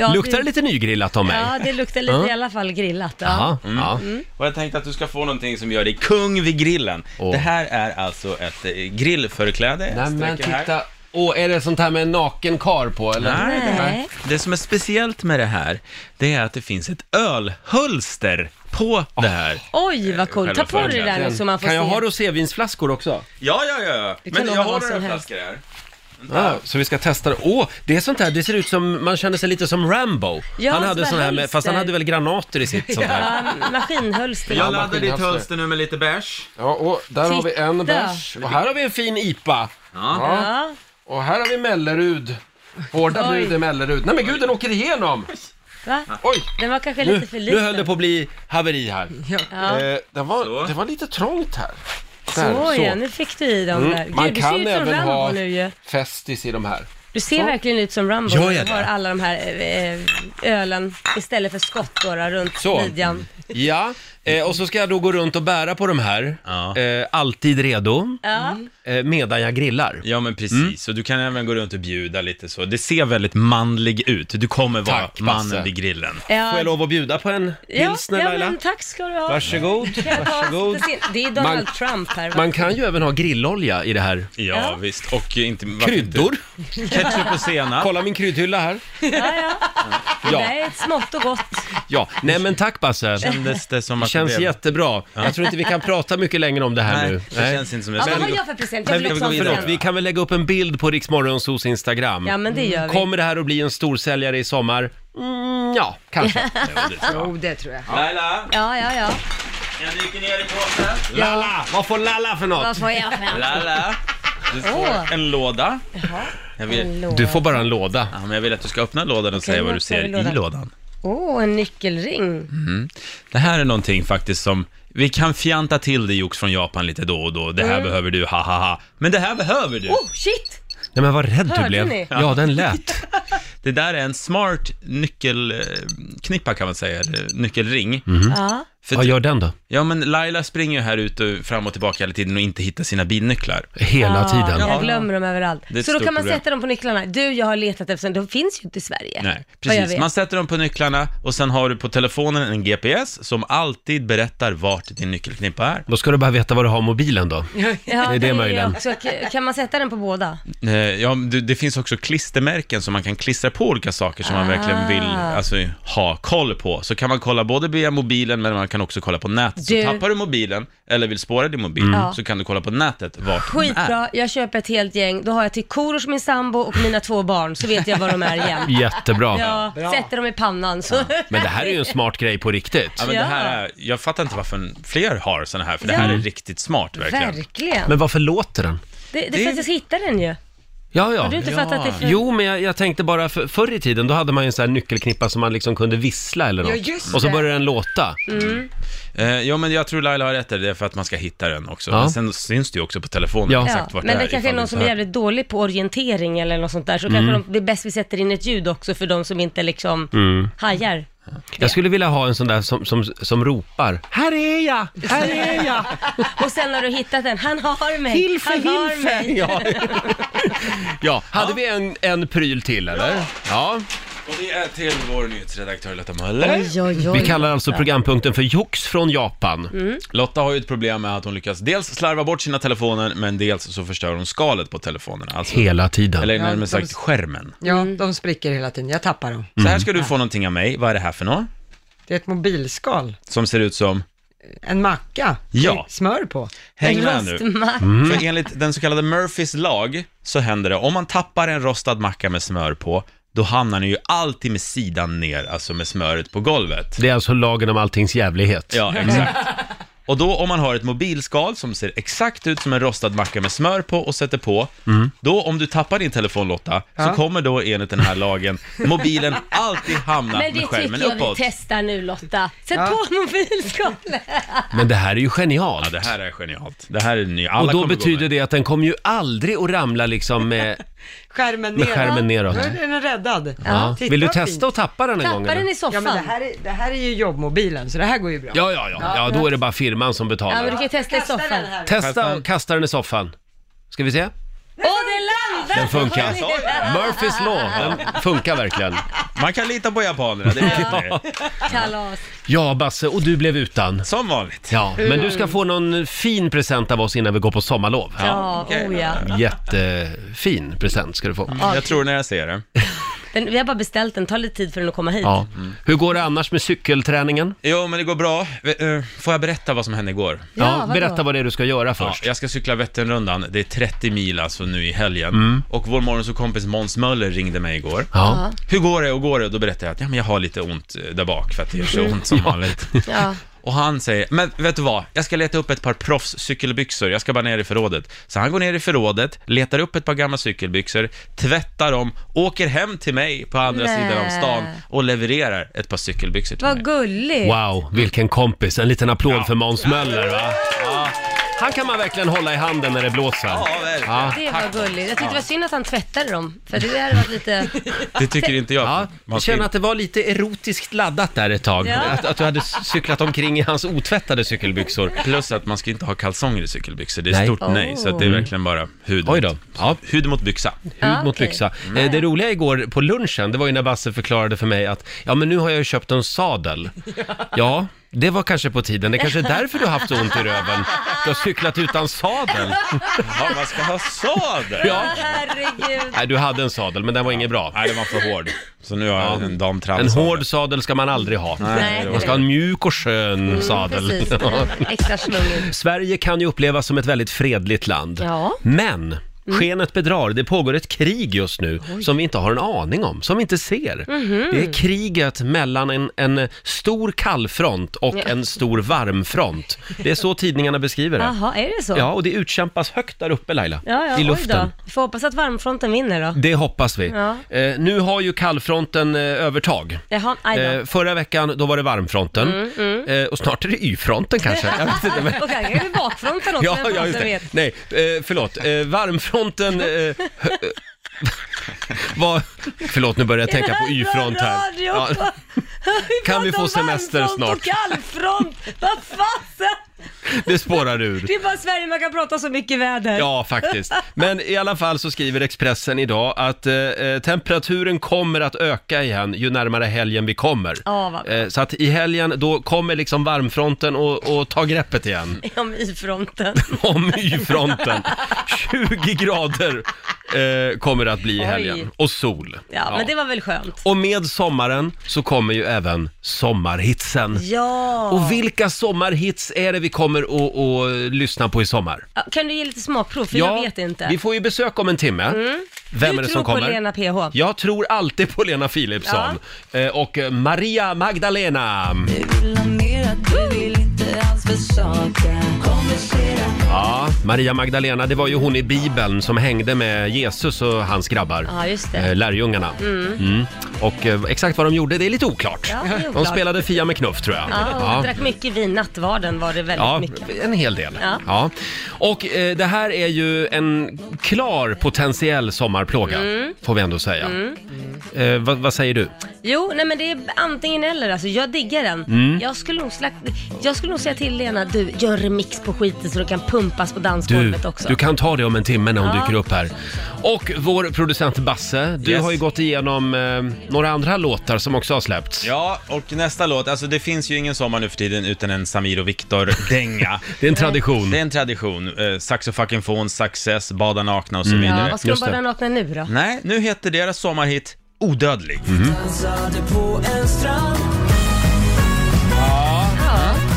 B: Ja,
A: Luktar det lite nygrillat av mig?
B: Ja, det luktar lite
A: Ja.
B: i alla fall grillat. Ja.
A: Jaha,
D: Mm.
A: ja.
D: Och jag tänkte att du ska få någonting som gör dig kung vid grillen.
A: Åh.
D: Det här är alltså ett eh, grillförkläde. Jag
A: Nej men
D: sträcker här.
A: titta. Och är det sånt här med en naken kar på eller?
D: Nej.
B: Nej.
D: det här- Det som är speciellt med det här, det är att det finns ett ölhölster på det här.
B: Oj, vad coolt. Ta
D: Själva
B: på dig det där nu så man får
A: kan jag
B: se.
A: ha rosévinsflaskor också?
D: Ja, ja, ja.
B: Det kan
D: Men
B: nog
D: jag
B: vara
D: har
B: vad
D: några
B: som helst.
D: flaskor här.
A: Ja, Ah, så vi ska testa det. Åh, det är sånt här, det ser ut som, man känner sig lite som Rambo.
B: Ja,
A: han hade
B: sådär
A: sån här, med,
B: hölster.
A: fast han hade väl granater i
B: [LAUGHS]
A: sitt sånt här.
B: Ja, maskinhölster.
D: Jag
B: Ja,
D: laddar ditt
F: maskinhölster.
D: hölster nu med lite bärs.
F: Ja, och där har vi en
B: Titta.
F: bärs. Och här har vi en fin IPA.
D: Ja.
F: Ja. Och här har vi Mellerud. Hårda
B: Oj.
F: bud i Mellerud. Nej men gud, den åker igenom!
B: Va?
F: Oj!
B: Den var kanske
A: Nu,
B: lite för
A: nu
B: liten.
A: höll det på att bli haveri här.
B: Ja.
F: Eh, det,
D: Så.
F: var, det var lite trångt här. så.
B: Så,
F: Mm.
B: ja, nu fick du i dem
A: Mm.
B: där. Gud,
F: Man
B: du ser
F: kan
B: ut som
F: även
B: Rambo
F: ha
B: nu ju.
F: Festis i de här.
B: Du ser verkligen ut som Rambo.
A: Gör jag
B: Du har
A: det?
B: alla de här eh, ölen istället för skott då, då, runt
A: Så. Mm.
B: midjan.
A: Ja, eh, och så ska jag då gå runt och bära på de här.
D: Ja.
A: Eh, alltid redo,
B: Ja.
A: eh, medan jag grillar.
D: Ja men precis, och du kan även gå runt och bjuda lite så. Det ser väldigt manlig ut. Du kommer vara
A: Tack, Basse.
D: mannen vid grillen.
B: Ja.
A: Får jag lov att bjuda på en
B: Ja,
A: pilsner
B: ja
A: Laila?
B: men tack ska du ha.
A: Varsågod,
B: Jag tar-
A: varsågod.
B: Det är Donald
A: Man-
B: Trump här. va?
A: Man kan ju även ha grillolja i det här.
D: Ja,
B: Ja.
D: visst, och inte... varför
A: Kryddor.
D: inte? Ketchup och senap.
A: Kolla min kryddhylla här.
B: Ja, ja. Det
A: Ja,
B: där är ett smått och gott.
A: ja. Nej men tack Basse.
D: Kändes det som
A: Det
D: att
A: känns
D: blev-
A: jättebra. Jag tror inte vi kan prata mycket längre om det här
D: Nej,
A: nu.
D: det känns inte som det.
B: Ja,
D: Ska
B: vad
D: vi
B: har
D: gå-
B: jag för present? Jag
A: Men
B: vill
A: vi,
B: också ha en
A: förlåt, vi
B: present.
A: kan väl lägga upp en bild på Riksmorgonsos Instagram.
B: Ja, men det gör vi.
A: Kommer det här att bli en storsäljare i sommar? Mm, ja, kanske.
C: Jo, det tror jag.
D: Laila,
B: Ja, ja, ja.
D: jag dyker ner i påsen.
A: Lalla! Vad får Lalla för något?
B: Vad får jag för något?
D: Laila, du får
B: Åh.
D: en låda. Jag vill,
B: Hallå.
A: Du får bara en låda.
D: ja, men jag vill att du ska öppna lådan och
B: Okej,
D: säga vad
B: vad
D: du
B: ska
D: ser
B: vi låda?
D: i lådan.
B: Åh, en nyckelring.
D: Det här är någonting faktiskt som, vi kan fjanta till det jox från Japan lite då och då. Det här behöver du, ha ha ha. Men det här behöver du!
B: Mm. Oh, shit!
A: Nej men vad rädd du
B: Hörde
A: blev.
B: ni?
A: Ja, den
B: [LAUGHS]
A: lät.
D: Det där är en smart nyckelknippa kan man säga, eller nyckelring.
B: Ja.
D: För
A: Vad gör den då?
D: Ja, men Laila springer ju här ute och fram och tillbaka hela tiden och inte hittar sina bilnycklar.
A: Hela tiden.
B: Jag glömmer dem överallt.
D: Det är ett
B: Så då
D: stort
B: kan man
D: problem.
B: sätta dem på nycklarna. Du, jag har letat efter dem. De finns ju inte i Sverige.
D: Nej,
B: Vad jag
D: precis.
B: vet.
D: Man sätter dem på nycklarna och sen har du på telefonen en GPS som alltid berättar vart din nyckelknippa är.
A: Då ska du bara veta vad du har mobilen då.
B: Ja,
A: det möjligen.
B: också- k- Kan man sätta den på båda?
D: Eh, Ja, du- det finns också klistermärken som man kan klistra på olika saker som man verkligen vill
B: Ah.
D: alltså, ha koll på. Så kan man kolla både via mobilen, men man kan också kolla på nätet.
B: Du- Mm.
D: Så tappar du mobilen, eller vill spåra din mobil, så kan du kolla på nätet vart den är.
B: Skitbra, jag köper ett helt gäng. Då har jag till Korosh, min sambo och mina två barn, så vet jag var de är
D: [LAUGHS]
B: igen.
A: Jättebra.
B: Ja, sätter dem i pannan så.
A: Men det här är ju en smart grej på riktigt.
D: Ja, men det
B: Ja.
D: här är, jag fattar inte varför fler har såna här, för det här
B: Ja.
D: är riktigt smart verkligen.
B: Verkligen.
A: Men varför låter den?
B: det, det, det... jag hittar den ju.
A: Ja, ja.
B: Har du inte fattat det för...
A: Jo, men jag, jag tänkte bara för, förr i tiden, då hade man ju en sån här nyckelknippa som man liksom kunde vissla eller något.
C: Ja, just
A: och så
C: det.
A: började den låta.
B: Mm.
D: Eh, ja, men jag tror Laila har rätt där, det är för att man ska hitta den också.
A: Ja.
D: Men sen syns det ju också på telefonen
A: Ja.
D: exakt vart
B: men
D: det
B: det
D: är.
B: kanske är
D: ifall
B: någon
D: du
B: som är
D: inte
B: jävligt dålig på orientering eller något sånt där, så
A: Mm.
B: kanske de, det är bäst vi sätter in ett ljud också för de som inte liksom
A: Mm.
B: hajar.
A: Jag skulle vilja ha en sån där som, som, som ropar. Här är jag! Här är jag!
B: Och sen har du hittat den, han har mig, han har mig.
A: Ja. [LAUGHS] ja, hade vi en, en pryl till eller? Ja.
D: hör. Och det är till vår nyhetsredaktör Lotta Möller.
B: Oj, oj, oj. Mm.
A: Vi kallar alltså programpunkten för Jox från Japan.
D: Lotta har ju ett problem med att hon lyckas dels slarva bort sina telefoner, men dels så förstör hon skalet på telefonerna. Alltså,
A: Hela tiden.
D: eller
C: Ja,
D: närmare
C: de-
D: sagt skärmen.
C: Ja,
A: Mm.
C: de spricker hela tiden. Jag tappar dem.
D: Så här ska du få någonting av mig. Vad är det här för något?
C: Det är ett mobilskal.
D: Som ser ut som...
C: En macka. Typ
D: Ja.
C: Smör på.
D: Häng
B: En
D: med nu.
B: rostmack.
D: Mm. För enligt den så kallade Murphys lag så händer det, om man tappar en rostad macka med smör på, då hamnar den ju alltid med sidan ner, alltså med smöret på golvet.
A: Det är alltså lagen om alltings jävlighet.
D: Ja, exakt. Och då om man har ett mobilskal som ser exakt ut som en rostad macka med smör på och sätter på,
A: Mm.
D: då om du tappar din telefon Lotta, så kommer då enligt den här lagen
B: [LAUGHS]
D: mobilen alltid hamna
B: Men det
D: med skärmen
B: tycker jag
D: uppåt.
B: vi testar nu Lotta. Sätt på mobilskalet.
A: Men det här är ju genialt.
D: Ja, det här är genialt. Det här är ny. Alla
A: och då
D: kommer gå
A: betyder
D: med.
A: det att den kommer ju aldrig att ramla liksom med,
C: Skärmen
A: med
C: neråt.
A: skärmen neråt.
C: Nu
B: Mm.
C: är den räddad.
A: Ja.
C: Titta,
A: Vill du
C: vad
A: testa
C: fint.
A: att tappa den en gång?
B: Tappa
A: eller?
B: den i
C: Ja,
B: soffan.
C: men det här, är, det här är ju jobbmobilen, så det här går ju bra.
A: Ja, ja, ja. Ja, då är det bara firman som
B: Ja, men
A: betalar.
B: du kan ju testa i soffan.
A: Testa och kasta den i soffan. Ska vi se?
B: Åh, det landar!
A: Den funkar.
D: Jag sa ju det.
A: Murphys law, den funkar verkligen.
D: Man kan lita på japanerna, det vet ni.
B: Kalas.
A: Ja, Basse, och du blev utan.
D: Som vanligt.
A: Ja, men du ska få någon fin present av oss innan vi går på sommarlov.
B: Mm. Ja, oh ja.
A: Jättefin present ska du få.
D: Mm. Jag tror när jag ser det.
B: Den, vi har bara beställt den, tar lite tid för den att komma hit.
A: Ja. Hur går det annars med cykelträningen?
D: Jo, men det går bra. V- eh, Får jag berätta vad som hände igår?
B: Ja, vadå?
A: berätta vad det är du ska göra
D: Ja,
A: först.
D: jag ska cykla Vätternrundan, det är 30 mil alltså nu i helgen.
A: Mm.
D: Och vår morgonsåkompis Måns Möller ringde mig igår.
A: Ja.
D: Hur går det och går det? Och då berättade jag att ja, men jag har lite ont eh, där bak för att det gör så
A: [LAUGHS]
D: ont som vanligt.
B: Ja.
D: Och han säger, men vet du vad? Jag ska leta upp ett par proffscykelbyxor, jag ska bara ner i förrådet. Så han går ner i förrådet, letar upp ett par gamla cykelbyxor, tvättar dem, åker hem till mig på andra
B: Nä.
D: sidan om stan och levererar ett par cykelbyxor till mig.
B: Vad gulligt.
A: Wow, vilken kompis. En liten applåd för Måns Möller va? Ja. Han kan man verkligen hålla i handen när det blåser.
D: Ja, verkligen.
A: Ja.
B: Det var
D: Tack.
B: gulligt. Jag tyckte det var synd att han tvättade dem, för det hade varit lite...
D: Det tycker inte jag.
A: Ja,
D: Man
A: jag
D: ska
A: känner att det var lite erotiskt laddat där ett tag.
B: Ja.
A: Att, att du hade cyklat omkring i hans otvättade cykelbyxor.
D: Plus att man ska inte ha kalsonger i cykelbyxor, det är
A: Nej.
D: stort nej, så att det är
A: Oh.
D: verkligen bara hud
A: Oj då.
D: mot, ja, hud mot byxa.
A: Hud
B: Ja,
A: mot
B: okej.
A: byxa. Eh, Det roliga igår på lunchen, det var ju när Basse förklarade för mig att ja, men nu har jag ju köpt en
B: [LAUGHS]
A: sadel. Ja, det var kanske på tiden. Det kanske är därför du har haft så ont i röven. Du har cyklat utan sadel.
D: Ja, man ska ha sadel!
A: [LAUGHS] Ja.
B: Herregud.
A: Nej, du hade en sadel, men den var ingen bra.
D: Nej, den var för hård. Så nu har jag en
A: En
D: damtramsadel.
A: hård sadel ska man aldrig ha.
B: Nej.
A: Man ska ha en mjuk och skön sadel.
B: Mm, Precis, extra slungig.
A: Sverige kan ju upplevas som ett väldigt fredligt land.
B: Ja. Mm.
A: Men skenet bedrar. Det pågår ett krig just nu som vi inte har en aning om, som vi inte ser.
B: Mhm.
A: Det är kriget mellan en, en stor kallfront och en stor varmfront. Det är så tidningarna beskriver det.
B: Jaha, är det så?
A: Ja, och det utkämpas högt där uppe Laila,
B: ja, ja
A: i
B: oj
A: luften.
B: Då. Vi får hoppas att varmfronten vinner då.
A: Det hoppas vi.
B: Ja.
A: Eh, nu har ju kallfronten eh, övertag.
B: Jaha, aj då. Mm,
A: Eh, förra veckan, då var det varmfronten. Eh, och snart är det y-fronten kanske. Jag vet inte, men...
B: Och kanske är det bakfronten också,
A: Ja,
B: vem
A: ja,
B: fan
A: just
B: som
A: det.
B: vet.
A: Nej, eh, förlåt. Eh, varmfronten... Eh, hö- [LAUGHS] var, förlåt, nu börjar jag tänka på Y-front här.
B: Radio.
A: Ja,
B: Vi
A: Kan vi
B: pratar
A: få
B: om
A: semester
B: varmfront
A: snart?
B: och kallfront! Vad fasen!
A: det spårar ur.
B: Det är bara Sverige man kan prata så mycket väder.
A: Ja, faktiskt. Men i alla fall så skriver Expressen idag att eh, eh, temperaturen kommer att öka igen ju närmare helgen vi kommer.
B: Ja, vad bra.
A: eh, så att i helgen, då kommer liksom varmfronten och, och tar greppet igen.
B: Om i-fronten.
A: om
B: [LAUGHS]
A: Y-fronten. 20 grader eh, kommer det att bli i helgen. Och sol.
B: Ja, men det var väl skönt.
A: Och med sommaren så kommer ju även sommarhitsen.
B: Ja!
A: Och vilka sommarhits är det vi kommer att att lyssna på i sommar?
B: Ja, Kan du ge lite smakprov? För jag vet inte. Mm.
A: vi får ju besök om en timme. Vem
B: du
A: är det
B: tror
A: som kommer?
B: på Lena PH.
A: Jag tror alltid på Lena Philipsson Eh, och eh, Maria Magdalena. Ja, Maria Magdalena, det var ju hon i Bibeln som hängde med Jesus och hans grabbar.
B: Ja, just det.
A: Eh, Lärjungarna. Mm. Och eh, exakt vad de gjorde, det är lite oklart.
B: Ja, det är
A: De
B: oklart.
A: spelade Fia med knuff tror jag.
B: Ja, och
A: Ja.
B: drack mycket vin. Nattvarden var det väldigt
A: Ja,
B: mycket.
A: en hel del. Ja.
B: Ja.
A: Och eh, det här är ju en klar potentiell sommarplåga,
B: Mm.
A: får vi ändå säga. Eh, vad, vad säger du?
B: Jo, nej men det är antingen eller. Alltså, jag diggar den.
A: Mm.
B: Jag, skulle nog slakt... jag skulle nog säga till Lena, du gör remix på skiten så du kan pumpas på
A: Du,
B: dansgolvet också.
A: du kan ta det om en timme när hon
B: Ja.
A: dyker upp här. Och vår producent Basse, du
D: Yes.
A: har ju gått igenom eh, några andra låtar som också har släppts.
D: Ja, och nästa låt, alltså det finns ju ingen sommar nu för tiden utan en Samir och [LAUGHS] Viktor-dänga.
A: Det är en tradition.
D: Det är en tradition. Eh, sax och fucking fon, Success, Bada nakna och så
B: Ja,
D: vidare.
B: vad ska de
A: Just
B: bara
A: det.
B: nakna nu då?
D: Nej, nu heter deras sommarhit Odödlig.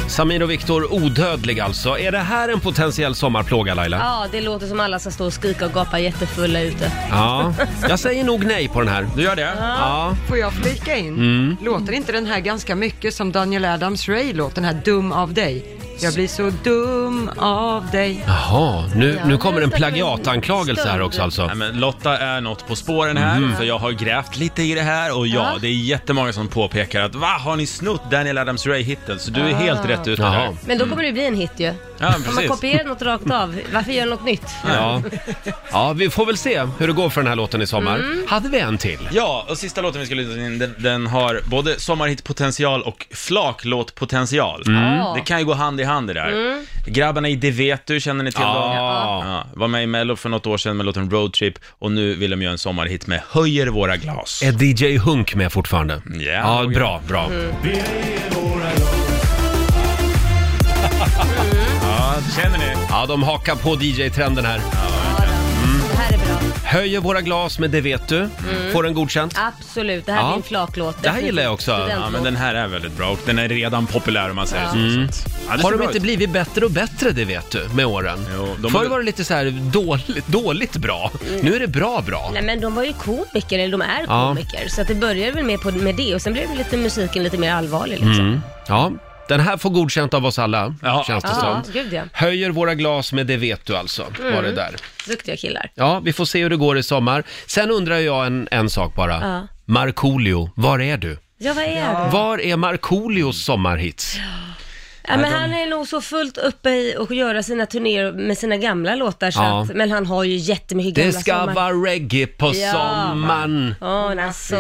A: Samir och Viktor, Odödlig alltså. Är det här en potentiell sommarplåga Laila?
B: Ja, det låter som alla ska stå och skrika och gapa jättefulla ute.
A: Ja. Jag säger nog nej på den här.
D: Du gör det?
A: Ja.
C: Får jag flika in? Låter inte den här ganska mycket som Daniel Adams Ray låt, den här Dum av dig? Jag blir så dum av dig.
A: Jaha, nu,
B: Ja,
A: nu kommer
B: det
A: en
B: är så-
A: plagiatanklagelse här också alltså.
D: Nej, men Lotta är något på spåren här, för jag har grävt lite i det här och Mhm. ja,
B: Ja.
D: det är jättemånga som påpekar att va, har ni snott Daniel Adams Ray-hitten? Så du är helt rätt ute
A: Jaha.
D: här.
B: Men då
A: Mm.
B: kommer det bli en hit ju.
D: Ah. Ja,
B: Om man
D: precis.
B: kopierar något rakt av, varför göra något nytt?
A: Ja. ja, vi får väl se hur det går för den här låten i sommar.
D: Mm.
A: Hade vi en till?
D: Ja, och sista låten vi ska lyssna in, den, den har både sommarhitpotential och flaklåtpotential.
B: Ja.
D: Det kan ju gå hand i hand det där. Grabbarna i Det vet du, känner ni till dem?
A: Ja.
D: Ja, var med i Mello för något år sedan med låten Road Trip och nu vill de göra en sommarhit med Höjer våra glas.
A: Är DJ Hunk med fortfarande?
D: Ja, Mm.
A: Ja, bra, bra.
D: Ja, känner ni?
A: Ja, de hakar på DJ-trenden här. Mm.
B: Det här är bra.
A: Höjer våra glas, men det vet du.
D: Mm.
A: Får den godkänt?
B: Absolut, det här
A: Ja.
B: är en flaklåt.
A: Det här gillar jag också.
B: Studentlåt.
D: Ja, men den här är väldigt bra och den är redan populär om man säger så. Mm. Ja, det
A: Har
D: ser
A: de
D: bra
A: inte
D: ut.
A: blivit bättre och bättre, det vet du, med åren?
D: Jo, de- Mm.
A: Förr var det lite så här dåligt, dåligt bra. Nu är det bra bra.
B: Nej men de var ju komiker, eller de är
A: Ja.
B: komiker. Så att det började väl med, på, med det och sen blev lite musiken lite mer allvarlig liksom.
A: Mm, Ja, den här får godkänt av oss alla,
D: Ja. Mm.
A: känns det
B: Ja,
A: som.
B: gud ja.
A: Höjer våra glas med det vet du alltså, var det där.
B: Duktiga killar.
A: Ja, vi får se hur det går i sommar. Sen undrar jag en, en sak bara.
B: Ja.
A: Markoolio, var är du?
B: Ja, vad är det?
A: Var är Markoolios sommarhits?
B: Ja, men han är nog så fullt uppe i att göra sina turnéer med sina gamla låtar, så
A: Ja.
B: att, men han har ju jättemycket gamla
A: Det ska
B: sommar-
A: vara reggae på
B: Ja.
A: sommaren.
B: Åh, oh, alltså,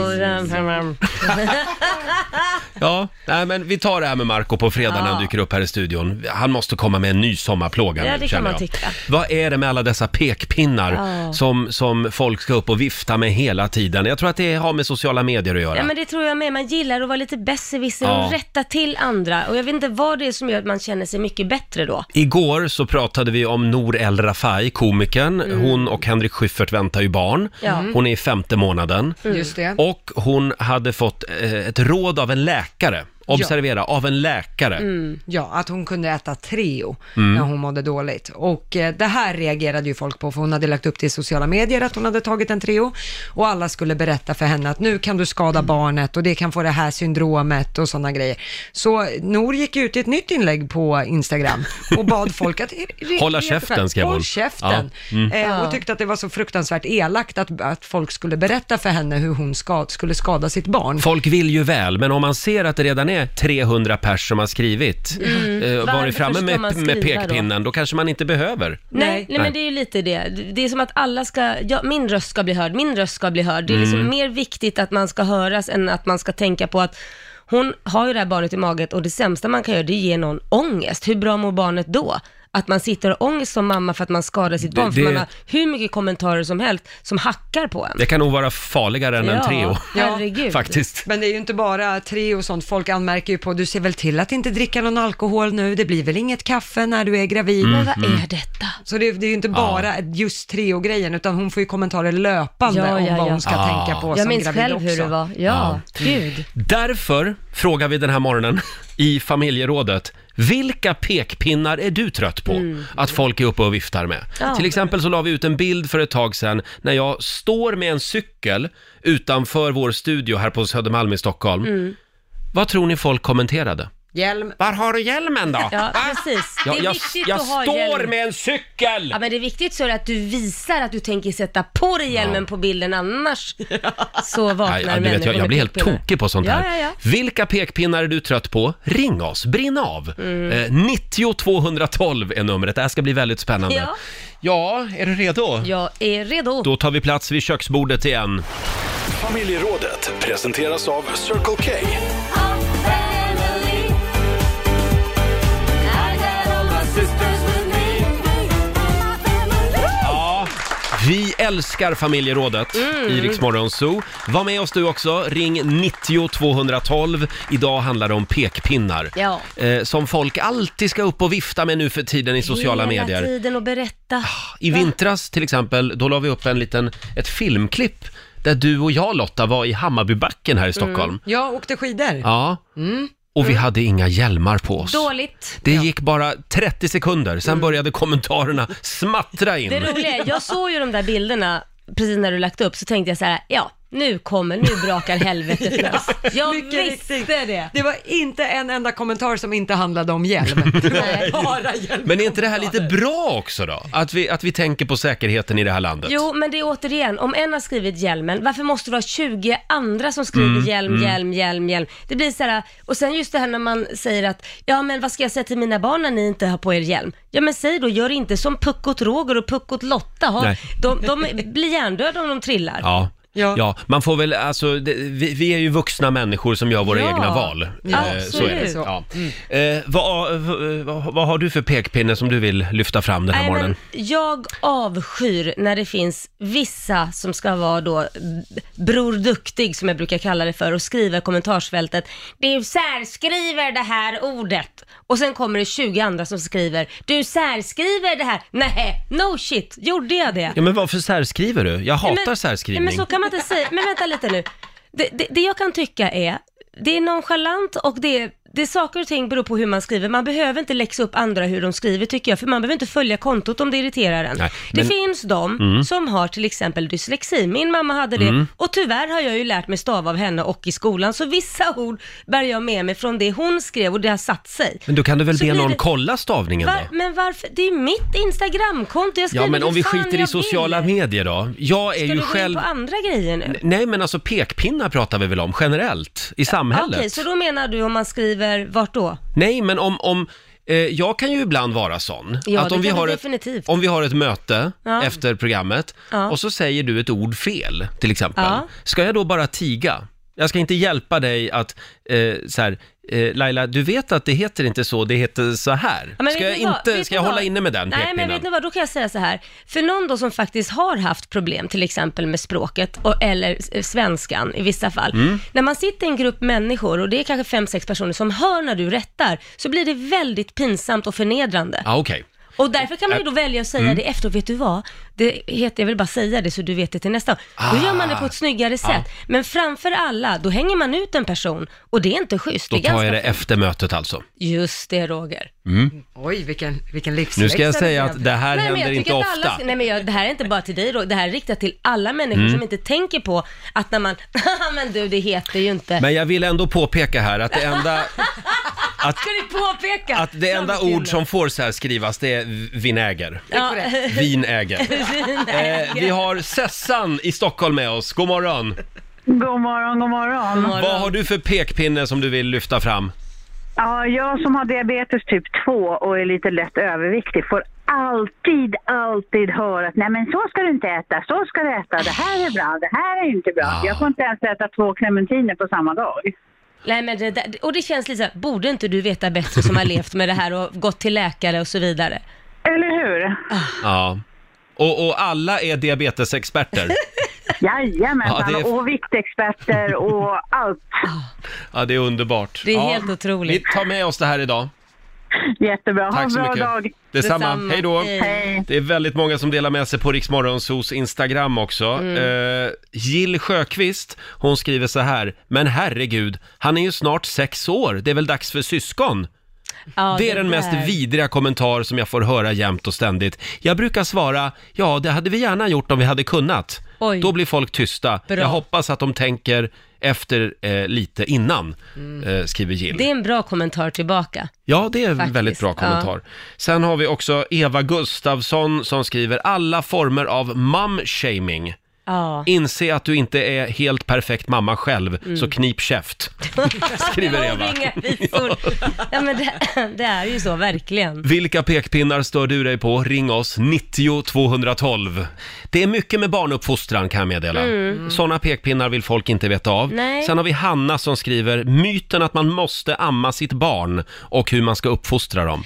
A: Ja, nej men vi tar det här med Marco på fredag när han
B: Ja.
A: dyker upp här i studion. Han måste komma med en ny sommarplåga
B: Ja,
A: nu,
B: det kan
A: känner
B: man
A: jag.
B: tycka.
A: Vad är det med alla dessa pekpinnar
B: Ja.
A: som, som folk ska upp och vifta med hela tiden? Jag tror att det har med sociala medier att göra.
B: ja men det tror jag med, man gillar att vara lite besserwisser
A: Ja.
B: och rätta till andra. Och jag vet inte vad det är som gör att man känner sig mycket bättre då.
A: Igår så pratade vi om Nour El Rafai, komikern. Hon och Henrik Schyffert väntar ju barn.
B: Mm.
A: Mm.
B: Ja. Mm.
A: Hon är i femte månaden.
C: Just det.
A: Och hon hade fått eh, ett råd av en läkare. Observera, av en läkare.
B: Mm.
C: Ja, att hon kunde äta Treo
A: Mm.
C: när hon mådde dåligt. Och eh, det här reagerade ju folk på, för hon hade lagt upp det i sociala medier att hon hade tagit en Treo. Och alla skulle berätta för henne att nu kan du skada
A: Mm.
C: barnet och det kan få det här syndromet och sådana grejer. Så Nor gick ut i ett nytt inlägg på Instagram
A: [LAUGHS]
C: och bad folk att...
A: Hålla käften, skrev hon. Mm.
C: Håll käften. Eh, och tyckte att det var så fruktansvärt elakt att, att folk skulle berätta för henne hur hon ska, skulle skada sitt barn.
A: Folk vill ju väl, men om man ser att det redan är 300 pers som har skrivit, eh,
B: Varför
A: varit framme
B: ska
A: med,
B: man
A: med
B: skriva då?
A: pekpinnen, då? kanske man inte behöver.
B: Nej,
C: Nej.
B: nej, men det är ju lite det. Det är som att alla ska, ja, min röst ska bli hörd, min röst ska bli hörd. Det är
A: Mm.
B: liksom mer viktigt att man ska höras än att man ska tänka på att hon har ju det här barnet i magen och det sämsta man kan göra det är att ge någon ångest. Hur bra mår barnet då? Att man sitter och har ångest som mamma för att man skadar sitt barn,
A: det-
B: för man har hur mycket kommentarer som helst som hackar på en.
A: Det kan nog vara farligare än en Treo,
B: [LAUGHS]
A: [LAUGHS]
B: herregud.
A: faktiskt.
C: Men det är ju inte bara tre och sånt. Folk anmärker ju på, du ser väl till att inte dricka någon alkohol nu, det blir väl inget kaffe när du är gravid.
A: Mm.
B: Men vad är detta?
C: Så det, det är ju inte bara just tre och grejen utan hon får ju kommentarer löpande
B: Ja,
C: om
B: ja,
C: vad
B: ja.
C: hon ska
A: Ah.
C: tänka på
B: Jag
C: som
B: minns
C: gravid
B: själv
C: också.
B: hur det var. Ja, gud.
A: Därför frågar vi den här morgonen i familjerådet, vilka pekpinnar är du trött på att folk är uppe och viftar med?
B: Mm. Ja.
A: Till exempel så la vi ut en bild för ett tag sedan när jag står med en cykel utanför vår studio här på Södermalm i Stockholm.
B: Mm.
A: Vad tror ni folk kommenterade?
C: Hjälm.
A: Var har du hjälmen då?
B: Ja, precis.
A: Ah. Ja,
B: det är
A: jag
B: viktigt
A: jag
B: att ha
A: står
B: hjälm.
A: med en cykel!
B: Ja men det är viktigt så är det att du visar att du tänker sätta på dig hjälmen på bilden annars så vaknar
A: Nej, ja, du
B: människor
A: vet, jag, jag
B: med
A: blir helt
B: pekpinnar.
A: tokig på sånt
B: ja,
A: här.
B: Ja, ja.
A: Vilka pekpinnar är du trött på? Ring oss, brinn av!
B: Mm.
A: Eh, 90 212 är numret, det här ska bli väldigt spännande.
B: Ja.
A: Ja, är du redo?
B: Jag är redo.
A: Då tar vi plats vid köksbordet igen.
E: Familjerådet presenteras av Circle K.
A: Ja, vi älskar familjerådet
B: Mm.
A: i Rix Morgon Zoo. Var med oss du också, ring 90 212. Idag handlar det om pekpinnar.
B: Ja.
A: Eh, som folk alltid ska upp och vifta med nu för tiden i sociala
B: Hela
A: medier. Ah,
B: tiden och berätta.
A: I vintras till exempel, då la vi upp en liten, ett filmklipp där du och jag Lotta var i Hammarbybacken här i Stockholm.
B: Mm.
C: Jag åkte skidor.
A: Ja. Och vi hade inga hjälmar på oss.
B: Dåligt.
A: Det gick bara 30 sekunder, sen började kommentarerna smattra in.
B: Mm. Det roliga är, jag såg ju de där bilderna precis när du lagt upp så tänkte jag så här, ja nu kommer, nu brakar
A: [LAUGHS]
B: helvetet lös. Jag
C: mycket
B: visste
C: riktigt.
B: det.
C: Det var inte en enda kommentar som inte handlade
B: [LAUGHS]
C: om hjälm. Det var
B: Nej.
C: bara hjälm.
A: Men är inte det här lite bra också då? Att vi, att vi tänker på säkerheten i det här landet.
B: Jo, men det är återigen, om en har skrivit hjälmen, varför måste det vara 20 andra som skriver hjälm, hjälm, hjälm, hjälm? Det blir så här, och sen just det här när man säger att, ja men vad ska jag säga till mina barn när ni inte har på er hjälm? Ja men säg då, gör inte som Puckot Roger och Puckot Lotta, ha,
A: Nej.
B: de, de blir hjärndöda om de trillar.
A: Ja.
C: Ja.
A: Ja, man får väl, alltså, det, vi, vi är ju vuxna människor som gör våra
B: Ja,
A: egna val.
B: ja,
A: Eh, så är det.
B: absolut. Mm.
A: Ja. Eh, vad, eh, vad, vad har du för pekpinne som du vill lyfta fram den här
B: Nej,
A: morgonen?
B: men jag avskyr när det finns vissa som ska vara då b- Bror Duktig, som jag brukar kalla det för, och skriver i kommentarsfältet Du särskriver det här ordet. Och sen kommer det 20 andra som skriver Du särskriver det här. Nej, no shit, gjorde jag det?
A: Ja, men varför särskriver du? Jag hatar
B: Nej, men-
A: särskrivning.
B: Nej, men så kan man inte säga. Men vänta lite nu. Det, det, det jag kan tycka är, det är nonchalant och det är, det är saker och ting beror på hur man skriver. Man behöver inte läxa upp andra hur de skriver tycker jag, för man behöver inte följa kontot om det irriterar en.
A: Nej, men- Mm.
B: Det finns de som har till exempel dyslexi. Min mamma hade det och tyvärr har jag ju lärt mig stava av henne och i skolan, så vissa ord bär jag med mig från det hon skrev och det har satt sig.
A: Men då kan du väl
B: Så
A: be
B: blir
A: någon
B: det-
A: kolla stavningen
B: Va-
A: då?
B: men varför? Det är ju mitt Instagramkonto, jag skriver
A: Ja, men
B: hur
A: om vi
B: fan
A: skiter
B: jag
A: i sociala
B: vill.
A: medier då? Jag är
B: Ska
A: ju
B: du gå in
A: själv...
B: på andra grejer nu?
A: Nej, men alltså pekpinnar pratar vi väl om generellt i samhället?
B: Okej, så då menar du om man skriver vart då?
A: Nej, men om, om eh, jag kan ju ibland vara sån.
B: Ja,
A: att
B: det
A: om vi,
B: kan du
A: har ett,
B: definitivt.
A: om vi har ett möte
B: Ja.
A: efter programmet
B: Ja.
A: och så säger du ett ord fel, till exempel.
B: Ja.
A: Ska jag då bara tiga? Jag ska inte hjälpa dig att, eh, så här, eh, Laila, du vet att det heter inte så, det heter så här.
B: Ja, men
A: ska
B: vet
A: jag,
B: ni vad?
A: inte,
B: Vet
A: ska
B: ni
A: jag
B: vad?
A: hålla inne med den
B: Nej, men vet ni
A: pekpinnen?
B: vad, då kan jag säga så här. För någon då som faktiskt har haft problem, till exempel med språket, och, eller eh, svenskan i vissa fall.
A: Mm.
B: När man sitter i en grupp människor, och det är kanske fem, sex personer som hör när du rättar, så blir det väldigt pinsamt och förnedrande.
A: Ja, Mm. okej.
B: Och därför kan man ju då välja att säga det efter, och vet du vad? Det heter, jag vill bara säga det så du vet det till nästa gång. Då gör man det på
A: Ah.
B: ett snyggare sätt. Men framför alla, då hänger man ut en person, och det är inte schysst.
A: Då
B: är
A: tar
B: ganska
A: jag det efter mötet alltså.
B: Just det Roger.
C: Oj, vilken, vilken livsläxa.
A: Nu ska jag
C: det
A: säga
C: blev.
A: att det här
B: men
A: händer
B: jag
A: inte
B: tycker att
A: ofta. Mm.
B: alla, nej men jag, det här är inte bara till dig Roger, det här är riktat till alla människor som inte tänker på att när man, [LAUGHS] men du det heter ju inte.
A: Men jag vill ändå påpeka här att det
B: [LAUGHS]
A: enda,
B: Ska du påpeka?
A: att det enda
B: Samtidigt.
A: ord som får så här skrivas det är vinäger.
B: Ja. [LAUGHS]
A: Vinäger. Eh, vi har Sessan i Stockholm med oss. God morgon.
G: God morgon, god morgon.
A: Vad har du för pekpinne som du vill lyfta fram?
G: Ja, jag som har diabetes typ 2 och är lite lätt överviktig får alltid, alltid höra att nej men så ska du inte äta, så ska du äta, det här är bra, det här är inte bra.
A: Ah.
G: Jag får inte ens äta två clementiner på samma dag.
B: Nej men det där, och det känns lite så här, borde inte du veta bättre som har levt med det här och gått till läkare och så vidare?
G: Eller
H: [LAUGHS]
G: hur?
A: Ja. Och, och alla är
B: [LAUGHS]
A: diabetesexperter.
G: Jajamensan,
A: Ja, det är-
G: och viktexperter och
H: [LAUGHS]
G: allt.
A: Ja, det är underbart.
B: Det är
A: ja.
B: helt otroligt.
A: Vi tar med oss det här idag.
G: Jättebra, ha
A: Tack
G: en
A: så
G: bra
A: mycket.
G: dag.
A: Detsamma.
B: Detsamma.
A: Hej då.
B: Hej.
G: Hej.
A: Det är väldigt många som delar med sig på Riksmorgonsos Instagram också.
B: Mm.
A: Eh, Jill Sjöqvist, hon skriver så här. Men herregud, han är ju snart sex år. Det är väl dags för syskon?
B: Ja,
A: det är den
B: där.
A: mest vidriga kommentar som jag får höra jämt och ständigt. Jag brukar svara, ja det hade vi gärna gjort om vi hade kunnat.
B: Oj.
A: Då blir folk tysta.
B: Bra.
A: Jag hoppas att de tänker efter eh, lite innan, eh, skriver Jill.
B: Mm. Det är en bra kommentar tillbaka.
A: Ja, det är en
B: Faktiskt,
A: väldigt bra
B: ja.
A: kommentar. Sen har vi också Eva Gustafsson som skriver alla former av mum-shaming.
B: Ja.
A: Inse att du inte är helt perfekt mamma själv, så knip käft. [LAUGHS] Skriver
B: Ja,
A: Eva.
B: Inga visor.
A: [LAUGHS]
B: Ja, men det, det är ju så, verkligen.
A: Vilka pekpinnar stör du dig på? Ring oss, 90 212. Det är mycket med barnuppfostran kan jag meddela. Sådana pekpinnar vill folk inte veta av.
B: Mm. Nej.
A: Sen har vi Hanna som skriver myten att man måste amma sitt barn och hur man ska uppfostra dem.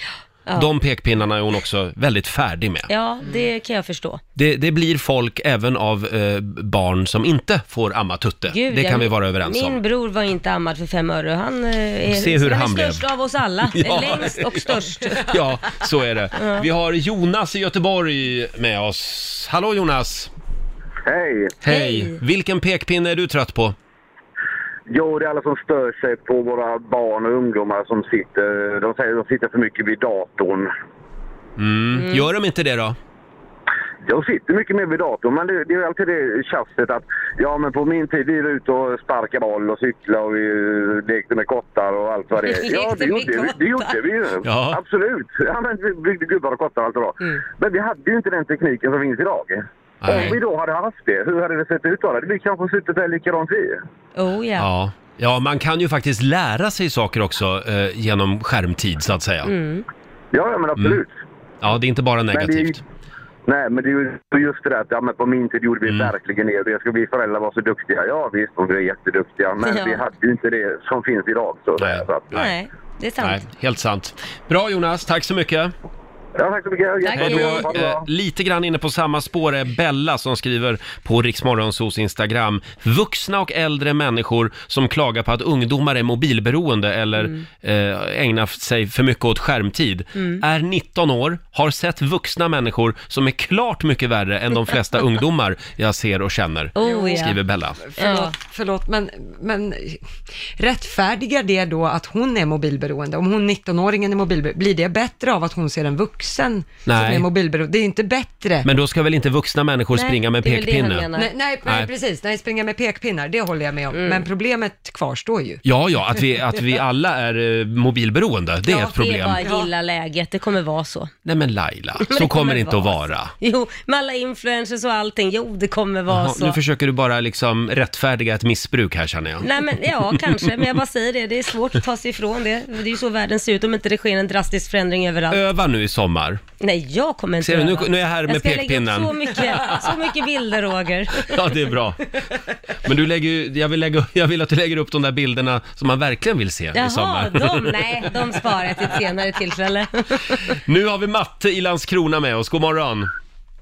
A: De pekpinnarna är hon också väldigt färdig med.
B: Ja, det kan jag förstå.
A: Det, det blir folk även av eh, barn som inte får amma tutte.
B: Gud,
A: det kan
B: jag-
A: vi vara överens
B: min
A: om.
B: bror var inte ammad för fem öre och han eh, är,
A: Se hur
B: är
A: han
B: väl
A: blev.
B: störst av
A: [LAUGHS]
B: oss alla.
A: Ja.
B: Längst och störst.
A: Ja, så är det. Vi har Jonas i Göteborg med oss. Hallå Jonas!
I: Hej!
B: Hej.
A: Vilken pekpinne är du trött på?
I: Jo, det är alla som stör sig på våra barn och ungdomar som sitter... De säger att de sitter för mycket vid datorn.
A: Mm. Gör de inte det då?
I: Jag sitter mycket mer vid datorn, men det, det är ju alltid det tjafset att ja, men på min tid vi var ute och sparkade boll och cyklade och vi eh, lekte med kottar och allt vad det
B: [LAUGHS]
I: är. Ja,
B: Lekte
I: det gjorde,
B: med
I: vi, det gjorde vi ju.
A: Ja.
I: Absolut. Ja, men vi byggde gubbar och kottar och allt vad det var.
B: Mm.
I: Men vi hade ju inte den tekniken som finns idag.
A: Nej.
I: Om vi då hade haft det, hur hade det sett ut då? Det hade vi kanske suttit där likadant vi.
B: Oh ja.
A: Ja. Ja, man kan ju faktiskt lära sig saker också eh, genom skärmtid så att säga.
I: Ja, ja, men absolut.
A: Mm. Ja, det är inte bara
I: Mm. Men det är ju-
A: negativt.
I: Nej, men det är ju just det där att ja, men på min tid gjorde vi
A: Mm.
I: verkligen det och det ska vi föräldrar vara så duktiga. Ja visst, och vi är jätteduktiga, men
J: Ja.
I: vi hade ju inte det som finns idag. Så,
A: Nej.
I: så att,
J: Nej, det är sant.
A: Nej, helt sant. Bra Jonas, tack så mycket.
I: ja, tack så mycket.
J: Tack.
A: Hej
I: Jättebra.
A: då.
I: Ha det bra.
A: Eh, lite grann inne på samma spår är Bella som skriver på Riksmorgonsos Instagram. Vuxna och äldre människor som klagar på att ungdomar är mobilberoende eller
J: Mm.
A: eh, ägnar sig för mycket åt skärmtid. Är 19 år, har sett vuxna människor som är klart mycket värre än de
J: [LAUGHS]
A: flesta ungdomar jag ser och känner.
J: Oh, ja.
A: Skriver Bella.
C: Förlåt,
J: Ja.
C: förlåt men, men rättfärdigar det då att hon är mobilberoende? Om hon 19-åringen är mobilberoende, blir det bättre av att hon ser en vuxen som
A: Nej.
C: är mobilberoende? Det är inte bättre.
A: Men då ska väl inte vuxna människor
J: Nej,
A: springa med
J: det är väl det han
A: pekpinne?
J: menar.
C: nej, nej,
A: Nej.
C: nej, precis. Nej, springa med pekpinnar, det håller jag med om. Men problemet kvarstår ju.
A: Ja, ja, att vi, att vi alla är eh, mobilberoende, det är ett problem.
B: Det är bara att gilla läget, det kommer vara så.
A: Nej
J: [LAUGHS]
A: men Laila,
B: Men
A: så kommer det inte att vara.
B: Jo, med alla influencers och allting, jo det kommer vara
A: Jaha,
B: så.
A: nu försöker du bara liksom rättfärdiga ett missbruk här känner jag.
B: Nej men ja, kanske, men jag bara säger det, det är svårt att ta sig ifrån det. Det är ju så världen ser ut om inte det sker en drastisk förändring överallt.
A: Öva nu i sommar.
B: Nej, jag kommer inte
A: Ser du, nu-
B: öva.
A: nu är jag här med
B: jag ska lägga
A: pekpinnen.
B: upp så mycket, så mycket bilder Roger.
A: Ja, [LAUGHS] det är bra. Men du lägger ju, jag vill, lägga, jag vill att du lägger upp de där bilderna som man verkligen vill se i
B: Jaha,
A: sommar.
B: de, nej, de sparar jag till ett
A: [LAUGHS]
B: senare tillfälle.
A: Nu har vi Matte i Landskrona med oss, god morgon.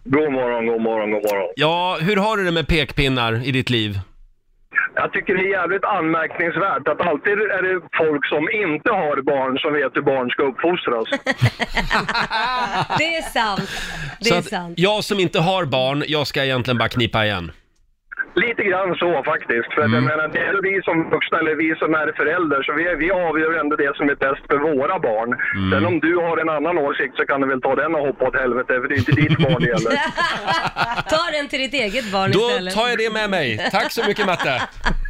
I: God morgon, god morgon, god morgon.
A: Ja, hur har du det med pekpinnar i ditt liv?
I: Jag tycker det är jävligt anmärkningsvärt att alltid är det folk som inte har barn som vet hur barn ska uppfostras.
B: Det är sant. Det
A: Så
B: är
A: att
B: sant. [LAUGHS]
A: jag som inte har barn, jag ska egentligen bara knipa igen.
I: Lite grann så faktiskt. För att jag menar, det är vi som vuxna eller vi som är föräldrar så vi, vi avgör ändå det som är bäst för våra barn. Sen om du har en annan åsikt så kan du väl ta den och hoppa åt helvete för det är inte ditt barn det gäller.
B: Ta den till ditt eget barn
A: Då
B: istället.
A: tar jag det med mig. Tack så mycket
B: [LAUGHS]
A: Matte.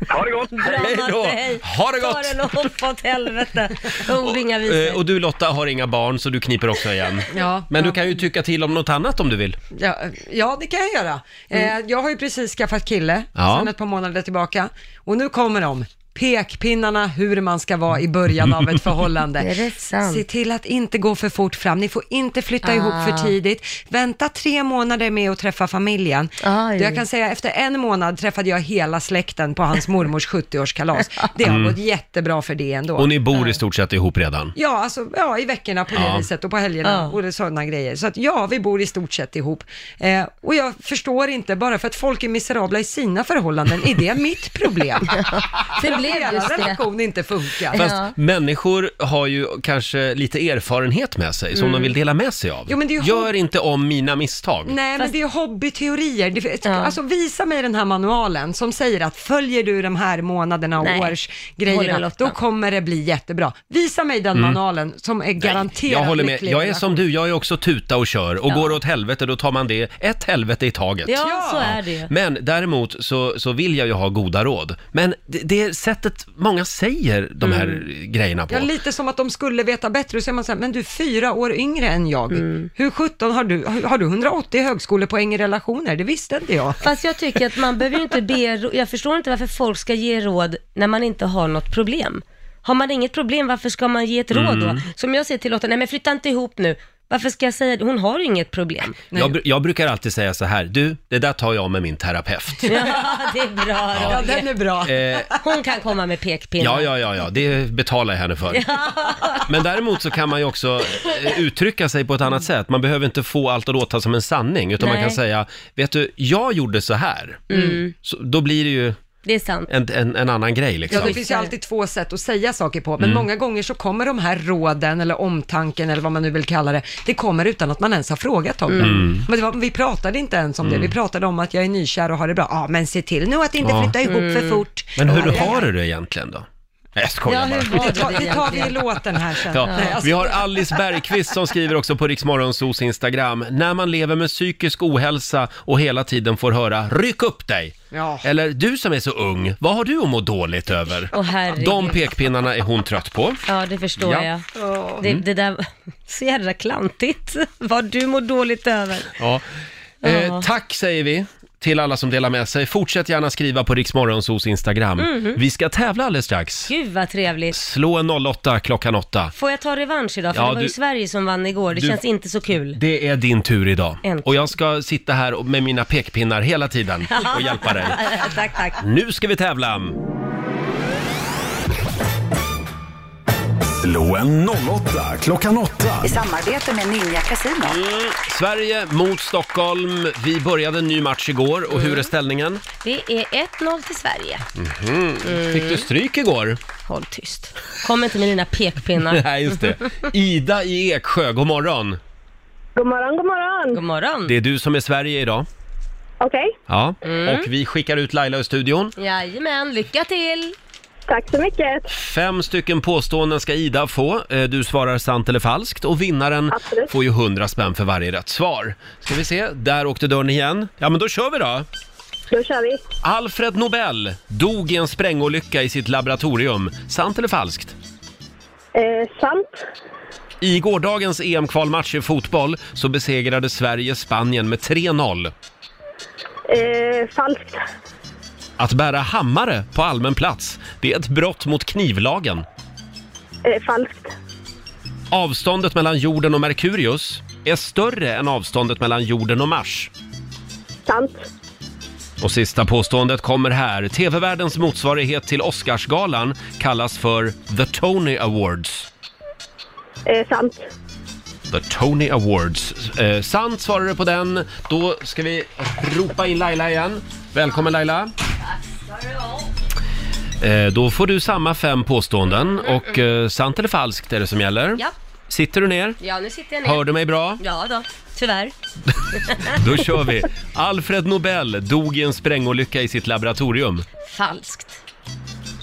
I: Ha det gott!
B: Bra,
A: Hej då.
B: Matte, hej.
A: Ha det
B: Ta
A: gott.
B: den och hoppa åt
A: [LAUGHS]
B: helvete. Ung inga
A: Eh,
B: visor.
A: Och du Lotta har inga barn så du kniper också igen.
C: Ja,
A: Men du
C: ja.
A: kan ju tycka till om något annat om du vill.
C: Ja, ja, det kan jag göra. Eh,
B: Mm.
C: jag har ju precis skaffat kille
A: Ja.
C: sedan ett par månader tillbaka och nu kommer de. Pekpinnarna hur man ska vara i början
B: [LAUGHS]
C: av ett förhållande.
B: Det är sant.
C: Se till att inte gå för fort fram. Ni får inte flytta ihop
B: Ah.
C: för tidigt. Vänta tre månader med att träffa familjen.
B: Aj.
C: Jag kan säga efter en månad träffade jag hela släkten på
B: [LAUGHS]
C: hans mormors 70-årskalas. Det
B: Mm.
C: har gått jättebra för det ändå.
A: Och ni bor i stort sett ihop redan.
C: Ja, alltså, ja, i veckorna på det
A: Ja.
C: viset och på helgerna
B: Ja.
C: och det- sådana grejer. Så att ja, vi bor i stort sett ihop. Eh, och jag förstår inte, bara för att folk är miserabla i sina förhållanden, är det
B: [LAUGHS]
C: mitt problem?
B: Det
C: Att
B: blev
C: Hela
B: just det.
C: relation inte funkar.
A: Fast
B: Ja.
A: människor har ju kanske lite erfarenhet med sig som de vill dela med sig av.
C: Mm. Jo, men det är ju-
A: Gör inte om mina misstag.
C: Nej, men det är ju hobbyteorier. Det,
B: Ja.
C: Alltså visa mig den här manualen som säger att följer du de här månaderna och
B: Nej. Håller
C: årsgrejerna,
B: Lotta.
C: då kommer det bli jättebra. Visa mig den manualen som är garanterat
A: Mm. Jag håller med.
C: lycklig
A: Jag är
C: relation.
A: som du, jag är också tuta och kör. Och går det åt helvete, då tar man det ett helvete i taget.
B: Ja, så är det ju.
A: Men däremot så, så vill jag ju ha goda råd. Men det, det är sättet många säger de här grejerna på.
C: Mm. Ja, lite som att de skulle veta bättre. Och så är man så här, men du är fyra år yngre än jag.
A: Mm.
C: Hur sjutton har du, har du 180 högskolepoäng i relationer? Det visste inte jag.
B: Fast jag tycker att man behöver ju inte be, rå- jag förstår inte varför folk ska ge råd när man inte har något problem. Har man inget problem, varför ska man ge ett råd
A: Mm.
B: då? Som jag säger till Lotta, nej men flytta inte ihop nu. Varför ska jag säga det? Hon har ju
A: [LAUGHS]
B: inget problem.
A: Jag, bru- jag brukar alltid säga så här, du, det där tar jag med min
C: [LAUGHS]
A: terapeut.
B: Ja, det är bra
C: Ja,
B: Roger.
C: den är bra.
A: Eh,
B: Hon kan komma med pekpinnar.
A: ja, ja, ja, ja, det betalar jag henne för. Men däremot så kan man ju också eh, uttrycka sig på ett annat sätt. Man behöver inte få allt att låta som en sanning, utan man
B: Nej.
A: kan säga, vet du, jag gjorde så här. Så, då blir det ju
B: Det är sant.
A: en, en, en annan grej
C: Mm. Ja,
A: liksom.
C: det finns ju alltid två sätt att säga saker på, men
A: Mm.
C: många gånger så kommer de här råden eller omtanken eller vad man nu vill kalla det, det kommer utan att man ens har frågat om
A: Mm.
C: det. Men det var, vi pratade inte ens om det, vi pratade om att jag är nykär och har det bra. Ja, men se till nu att inte
A: Ja. Mm.
C: flytta ihop för fort.
A: Men hur
C: Ja, ja,
A: har du det egentligen då? Nej, Jag skojar
B: Ja,
A: bara.
B: hur var
C: Det
B: det,
C: tar, det tar vi i
B: egentligen?
C: låten här sen.
A: Ja.
C: Nej, alltså-
A: Vi har Alice Bergqvist som skriver också på Riksmorgonsos Instagram. När man lever med psykisk ohälsa och hela tiden får höra ryck upp dig.
C: Ja.
A: Eller du som är så ung, vad har du att må dåligt över?
B: Åh, herregud.
A: De pekpinnarna är hon trött på.
B: Ja, det förstår
A: Ja. Mm.
B: jag. Det, det där, så [LAUGHS] jävla klantigt. Vad du mår dåligt över.
A: Ja. Eh, tack säger vi till alla som delar med sig. Fortsätt gärna skriva på Riksmorgonsos Instagram. Vi ska tävla alldeles strax.
B: Gud vad trevligt.
A: Slå en 08 klockan 8.
B: Får jag ta revansch idag? För
A: Ja,
B: det var ju
A: du-
B: Sverige som vann igår. Det
A: du-
B: känns inte så kul.
A: Det är din tur idag.
B: Äntligen.
A: Och jag ska sitta här och- med mina pekpinnar hela tiden och hjälpa
B: [LAUGHS]
A: dig.
B: tack, tack.
A: Nu ska vi tävla!
E: Slå en 08 klockan 8.
J: I samarbete med Ninja Casino.
A: Sverige mot Stockholm. Vi började en ny match igår och hur är ställningen?
B: Det är 1-0 till Sverige.
A: Fick du stryk igår?
B: Håll tyst. Kom inte med dina pekpinnar.
A: [LAUGHS] Nej, just det. Ida i Eksjö, god morgon.
K: God morgon, god morgon.
B: God morgon.
A: Det är du som är Sverige idag.
K: Okej,
A: Ja. Och vi skickar ut Laila ur studion.
B: Jajamän, lycka till!
K: tack så mycket.
A: Fem stycken påståenden ska Ida få. Eh, Du svarar sant eller falskt och vinnaren
K: Absolut.
A: får ju 100 spänn för varje rätt svar. Ska vi se, där åkte dörren igen. Ja, men då kör vi då!
K: Då kör vi.
A: Alfred Nobel dog i en sprängolycka i sitt laboratorium. Sant eller falskt?
K: Eh, sant.
A: I gårdagens EM-kvalmatch i fotboll så besegrade Sverige Spanien med 3-0.
K: Eh, falskt.
A: Att bära hammare på allmän plats, det är ett brott mot knivlagen.
K: Eh, falskt.
A: Avståndet mellan jorden och Merkurius är större än avståndet mellan jorden och Mars.
K: Sant.
A: Och sista påståendet kommer här. TV-världens motsvarighet till Oscarsgalan kallas för The Tony Awards.
K: Eh, sant.
A: The Tony Awards. Eh, sant svarar du på den. Då ska vi ropa in Laila igen. Välkommen Laila. Eh, då får du samma fem påståenden och eh, sant eller falskt är det som gäller.
B: Ja,
A: Sitter du ner?
B: ja nu sitter jag ner.
A: Hör du mig bra?
B: Ja då, tyvärr.
A: Då kör vi. Alfred Nobel dog i en sprängolycka i sitt laboratorium.
B: Falskt.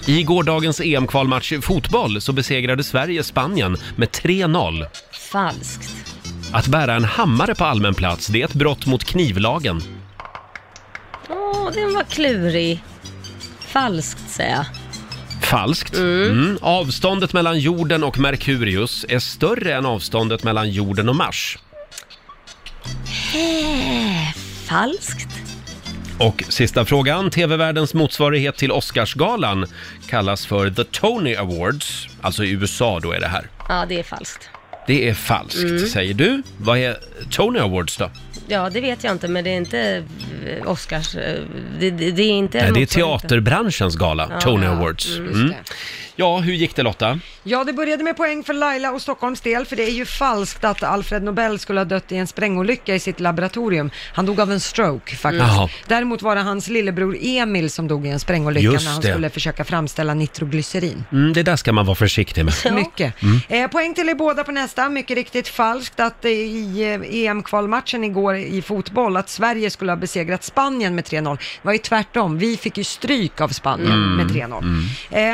A: I gårdagens EM-kvalmatch i fotboll så besegrade Sverige Spanien med 3-0.
B: Falskt.
A: Att bära en hammare på allmän plats, det är ett brott mot knivlagen.
B: Åh, den var klurig. Falskt säger jag.
A: Falskt. Mm. Avståndet mellan jorden och Merkurius är större än avståndet mellan jorden och Mars.
B: Eh, falskt.
A: Och sista frågan, TV-världens motsvarighet till Oscarsgalan kallas för The Tony Awards, alltså i USA då är det här.
B: Ja, det är falskt.
A: Det är falskt, säger du. Vad är Tony Awards då?
B: Ja, det vet jag inte, men det är inte eh, Oscars... eh, Det, det, det är inte...
A: Nej, Eh, det är
B: motsvarighet.
A: teaterbranschens gala, Tony
C: ja.
A: Awards. Mm. Ja, hur gick det Lotta?
C: Ja, det började med poäng för Laila och Stockholms del, för det är ju falskt att Alfred Nobel skulle ha dött i en sprängolycka i sitt laboratorium. Han dog av en stroke faktiskt.
A: Jaha.
C: Däremot var det hans lillebror Emil som dog i en sprängolycka
A: Just
C: när han
A: det.
C: skulle försöka framställa nitroglycerin.
A: Mm, det där ska man vara försiktig
K: [LAUGHS]
A: med. [LAUGHS]
C: Mycket. Eh, poäng till er båda på nästa. Mycket riktigt falskt att eh, i eh, EM-kvalmatchen igår i fotboll att Sverige skulle ha besegrat Spanien med 3-0. Det var ju tvärtom. Vi fick ju stryk av Spanien med 3-0.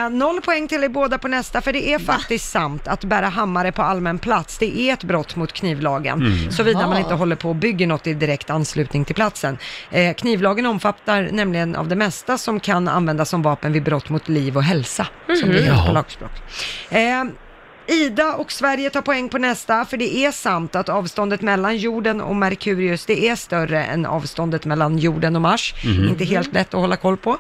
C: Eh, noll poäng till er båda på nästa, för det är faktiskt sant att bära hammare på allmän plats, det är ett brott mot knivlagen. Såvida man inte håller på och bygger något i direkt anslutning till platsen. Eh, knivlagen omfattar nämligen av det mesta som kan användas som vapen vid brott mot liv och hälsa, som det heter
A: Jaha.
C: på lagspråk. Eh, Ida och Sverige tar poäng på nästa, för det är sant att avståndet mellan jorden och Merkurius, det är större än avståndet mellan jorden och Mars. Inte helt lätt att hålla koll på.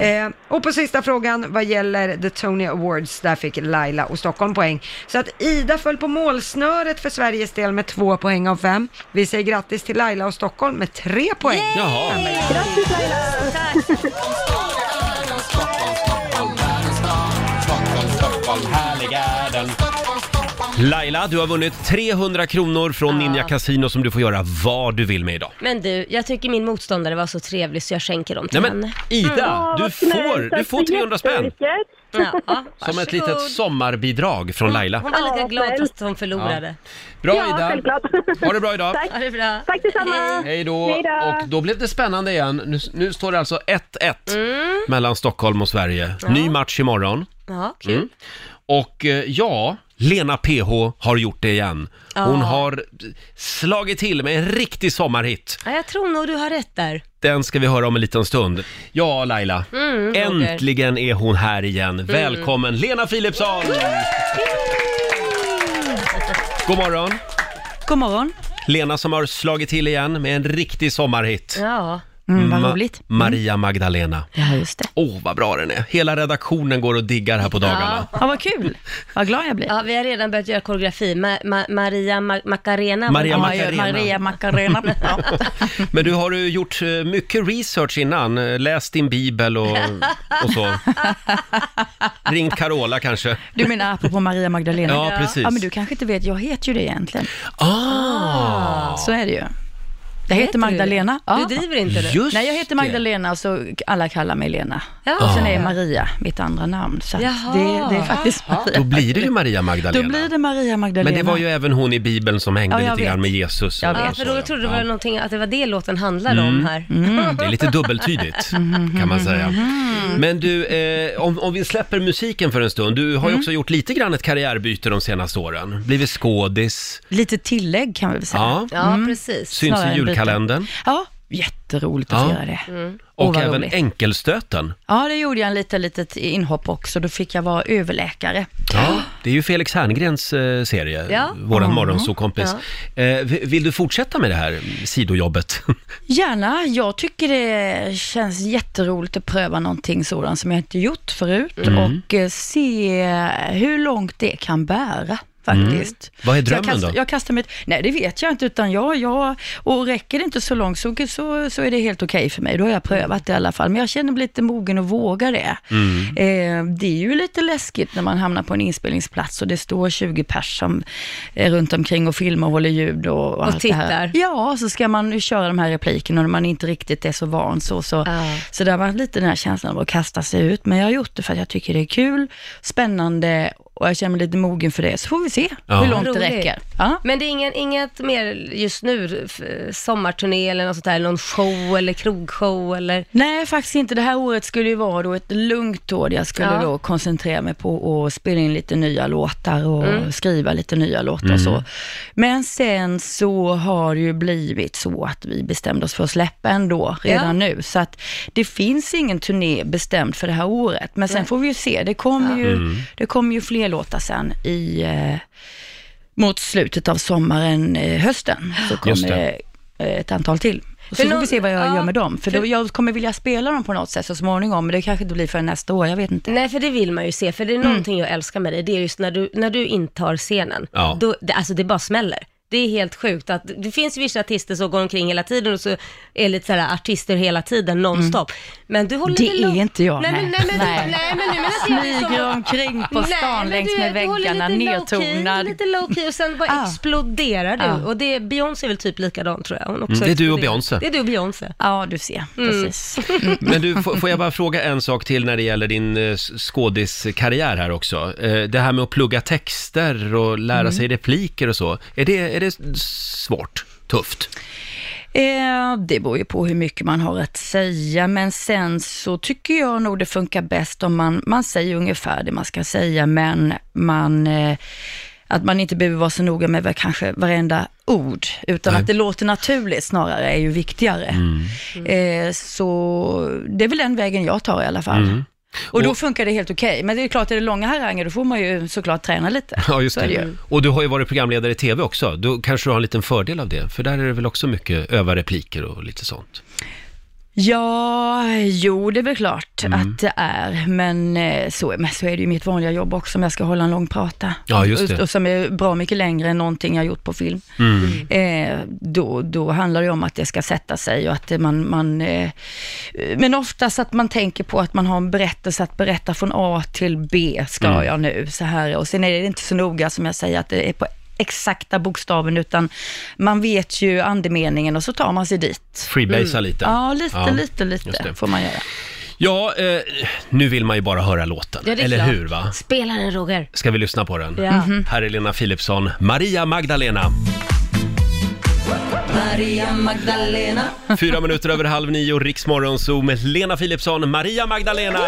C: Eh, och på sista frågan vad gäller The Tony Awards, där fick Laila och Stockholm poäng. Så att Ida föll på målsnöret för Sveriges del med två poäng av fem. Vi säger grattis till Laila och Stockholm med tre poäng.
A: Jaha. Laila, du har vunnit 300 kronor från Ninja Casino som du får göra vad du vill med idag.
B: Men du, jag tycker min motståndare var så trevlig så jag skänker dem till
A: Nej men,
B: henne.
A: Ida!
K: Åh,
A: Du
K: vad snällt.
A: får, du
K: Tack
A: får
K: så
A: 300 spänn!
K: jättemycket.
B: Ja, ja,
A: Som ett
B: varsågod.
A: litet sommarbidrag från Laila.
B: Hon var lite
K: Ja,
B: glad
K: snäll.
B: fast hon förlorade.
A: Bra
K: Ja,
A: Ida!
K: självklart.
A: Ha det bra idag!
K: Tack.
B: Ha det bra.
K: Tack detsamma.
A: Hej då!
K: Hej då.
A: Och då blev det spännande igen. Nu, nu står det alltså 1-1 mellan Stockholm och Sverige. Ny match imorgon.
B: Ja, kul.
A: Och eh, ja, Lena PH har gjort det igen. Hon
B: Ja.
A: har slagit till med en riktig sommarhit.
B: Ja, jag tror nog du har rätt där.
A: Den ska vi höra om en liten stund. Ja, Laila.
B: Roger.
A: äntligen är hon här igen. Välkommen Lena Philipsson! God morgon!
J: God morgon.
A: Lena som har slagit till igen med en riktig sommarhit.
B: Ja,
A: Mm,
H: vad roligt.
A: Maria Magdalena.
H: Ja, just det.
A: Åh, vad bra den är. Hela redaktionen går och diggar här på dagarna.
H: Ja, vad kul. Vad glad jag blir.
B: Ja, vi har redan börjat göra koreografi. Ma- ma- Maria Ma- Macarena.
A: Maria
B: Ja,
A: Macarena. [LAUGHS]
B: Maria
H: Macarena.
A: Men du har ju gjort eh, mycket research innan, eh, läst din bibel
H: [LAUGHS]
A: och, och så. Ringt Carola kanske.
H: Du menar apropå Maria Magdalena?
A: Ja, precis.
H: Ja, men du kanske inte vet, jag heter ju det egentligen.
A: Ah!
H: Så är det ju. Jag heter
B: Heter du
H: Magdalena.
B: det? Du driver inte det? Just
H: Nej, jag heter
B: det.
H: Magdalena och så alla kallar mig Lena.
B: Ja.
H: Och sen är Maria mitt andra namn. Så att
B: Jaha.
H: det, det är faktiskt Maria.
A: Då blir det ju Maria
H: Då
A: Magdalena.
H: blir det Maria Magdalena.
A: Men det var ju även hon i bibeln som hängde
H: Ja, jag
A: lite grann
H: vet.
A: med Jesus.
B: Ja,
A: och så,
B: för då trodde du
A: ja.
B: var någonting, att det var det låten handlade
A: Mm.
B: om här.
A: Det är lite
H: [LAUGHS]
A: dubbeltydigt,
H: Mm-hmm.
A: kan man säga. Men du, eh, om, om vi släpper musiken för en stund. Du
H: Mm.
A: har ju också gjort lite grann ett karriärbyte de senaste åren. Blivit skådis.
H: Lite tillägg kan vi väl säga.
A: Ja. Ja,
H: Mm.
B: precis.
A: Syns i julkalendern.
H: Ja, jätteroligt att
A: Ja.
H: få göra det.
B: Mm.
H: Åh,
A: Och
H: vad
A: även
H: roligt.
A: enkelstöten.
H: Ja, det gjorde jag en liten litet inhopp också. Då fick jag vara överläkare.
A: Ja, det är ju Felix Herngrens eh, serie,
H: Ja. Mm.
A: våran
H: Ja.
A: morgonsåkompis. Eh, vi- vill du fortsätta med det här sidojobbet? [LAUGHS]
H: Gärna. Jag tycker det känns jätteroligt att pröva någonting sådant som jag inte gjort förut
A: Mm.
H: och eh, se hur långt det kan bära. Faktiskt.
A: Mm. Vad är
H: Så jag
A: drömmen
H: kastar,
A: då?
H: Jag kastar mig, nej det vet jag inte, utan jag, jag och räcker det inte så långt så, så, så är det helt okej för mig. Då har jag prövat det i alla fall. Men jag känner mig lite mogen att våga det.
L: Mm.
H: Eh, det är ju lite läskigt när man hamnar på en inspelningsplats och det står 20 pers som är runt omkring och filmar och håller ljud och, och,
B: Och
H: allt det här.
B: tittar.
H: Ja, så ska man ju köra de här replikerna och när man inte riktigt är så van så. Så, så där var lite den här känslan av att kasta sig ut. Men jag har gjort det för att jag tycker det är kul, spännande och jag känner mig lite mogen för det. Så får vi se
B: Ja.
H: hur långt
B: Roligt.
H: det räcker. Ja.
B: Men det är ingen, inget mer just nu, f- sommarturné eller något sånt där, någon show eller krogshow eller?
H: Nej, faktiskt inte. Det här året skulle ju vara då ett lugnt år där jag skulle
B: Ja.
H: då koncentrera mig på att spela in lite nya låtar och
B: Mm.
H: skriva lite nya låtar och
L: Mm.
H: så. Men sen så har det ju blivit så att vi bestämde oss för att släppa ändå redan
L: Ja.
H: nu. Så att det finns ingen turné bestämd för det här året. Men sen
L: Nej.
H: får vi ju se. Det kommer
L: Ja.
H: ju,
L: Mm.
H: det kommer ju fler låtar sen i, eh, mot slutet av sommaren, eh, hösten. Så
L: Just
H: kommer
L: det.
H: det eh, ett antal till. Och så
L: För
H: får vi
L: någon-
H: se vad jag
L: ja,
H: gör med dem. För, då,
L: för-
H: jag kommer vilja spela dem på något sätt så småningom, men det kanske inte blir förrän nästa år, jag vet inte.
B: Nej, för det vill man ju se, för det är någonting jag älskar med dig, det är just när du, när du intar scenen.
H: Ja.
B: Då, det, alltså det bara smäller. Det är helt sjukt att det finns ju vissa artister som går omkring hela tiden och så är lite sådär artister hela tiden nonstop. Men du håller
H: Det
B: det lugnt.
H: är inte jag,
B: Nej,
H: nej.
B: men, nej, men, nej.
H: Nej.
B: men nu menar jag det som-
H: Smyger omkring på
B: Nej,
H: stan
B: men
H: längs
B: du-
H: med
B: du håller
H: väggarna,
B: lite
H: nedtonad.
B: Low-key, lite low-key och sen bara exploderar du.
H: Ja.
B: Och det, Beyoncé är väl typ likadan tror jag. Hon också
A: Mm, det är du och
B: exploderar.
A: Beyoncé.
B: Det är du och Beyoncé.
H: Ja, du ser. Precis.
A: Men du, får får jag bara fråga en sak till när det gäller din eh, s- skådiskarriär här också? Eh, Det här med att plugga texter och lära
H: Mm.
A: sig repliker och så. Är det, är det s- svårt? Tufft?
H: Eh, det beror ju på hur mycket man har att säga, men sen så tycker jag nog det funkar bäst om man, man säger ungefär det man ska säga, men man, eh, att man inte behöver vara så noga med vad- kanske varenda ord, utan
L: Nej.
H: att det låter naturligt snarare är ju viktigare. Eh, så det är väl den vägen jag tar i alla fall.
A: Mm.
H: Och då funkar det helt okej, men det är klart, är det långa haranger, då får man ju såklart träna lite.
A: Ja, just
H: Så är det
A: det.
H: ju.
A: Och du har ju varit programledare i TV också. Då kanske du har en liten fördel av det, för där är det väl också mycket öva repliker och lite sånt.
H: Ja, jo det är väl klart
A: Mm.
H: att det är, men eh, så, men så är det ju mitt vanliga jobb också om jag ska hålla en lång prata.
L: Ja, just det.
H: Och, och som är bra mycket längre än någonting jag gjort på film.
L: Mm.
H: Eh, då, då handlar det om att det ska sätta sig och att det man, man eh, men oftast att man tänker på att man har en berättelse att berätta från A till B ska
L: Mm.
H: jag nu, så här. Och sen är det inte så noga som jag säger att det är på exakta bokstaven, utan man vet ju andemeningen och så tar man sig dit.
A: Freebasea lite.
H: Mm. Ja, lite,
A: Ja,
H: lite,
A: just det.
H: lite får man göra.
A: Ja, eh, nu vill man ju bara höra låten,
B: Ja, det är
A: eller
B: klart.
A: hur va?
B: Spela den Roger.
A: Ska vi lyssna på den? Mm-hmm.
B: Ja. Mhm.
A: Här är Lena Philipsson, Maria Magdalena.
L: Maria Magdalena.
A: Fyra minuter över halv nio, Riksmorgon Zoo med Lena Philipsson, Maria Magdalena!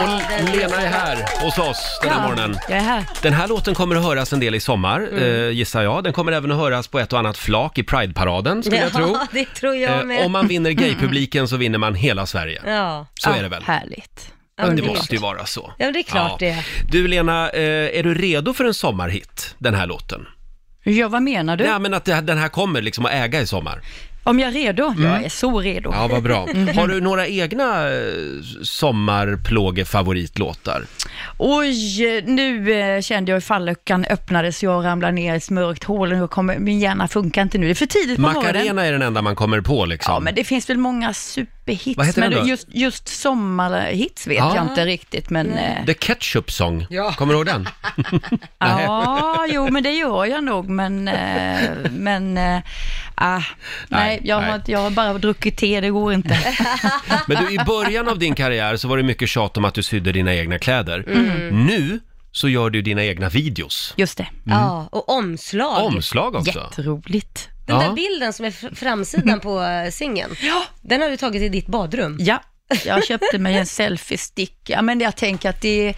A: Och Lena är här hos oss den här morgonen.
H: Jag är här.
A: Den här låten kommer att höras en del i sommar,
B: Mm.
A: eh, gissar jag. Den kommer även att höras på ett och annat flak i Pride-paraden, skulle jag tro.
B: [LAUGHS] Ja, det tror jag med.
A: Eh, om man vinner gaypubliken så vinner man hela Sverige.
B: Ja.
A: Så är det väl?
H: Härligt.
A: Ja, det
B: Underbart.
A: måste ju vara så.
B: Ja, men det är klart det.
A: Du Lena, eh, är du redo för en sommarhit, den här låten?
H: Ja, vad menar du?
A: Nej, men att det- den här kommer liksom att äga i sommar.
H: Om jag är redo? Jag
A: Mm.
H: är så redo.
A: Ja, vad bra.
H: Mhm.
A: Har du några egna eh, sommarplågefavoritlåtar?
H: Oj, nu eh, kände jag hur falluckan öppnades, jag ramlade ner i ett mörkt hål och jag kommer, min hjärna funkar inte nu. Det är för tidigt på morgonen.
A: Macarena är den enda man kommer på liksom.
H: Ja, men det finns väl många superhits,
A: Vad heter
H: men
A: den då?
H: just, just sommarhits vet
A: Ja.
H: jag inte riktigt. Men, eh,
A: The Ketchup Song,
H: Ja.
A: kommer du ihåg
H: [LAUGHS]
A: den?
H: Ja, jo, men det gör jag nog, men... eh, men eh, ah, nej, jag,
A: nej.
H: Har, jag har bara druckit te, det går inte. [LAUGHS]
A: Men du, i början av din karriär så var det mycket tjat om att du sydde dina egna kläder.
B: Mm.
A: Nu så gör du dina egna videos.
H: Just det.
B: Ja, och omslag.
A: Omslag också.
H: Jätteroligt.
B: Den
A: Ja.
B: där bilden som är fr- framsidan på eh, singeln,
H: [LAUGHS]
B: den har du tagit i ditt badrum.
H: Ja, jag köpte mig en selfiesticka, men jag tänker att det,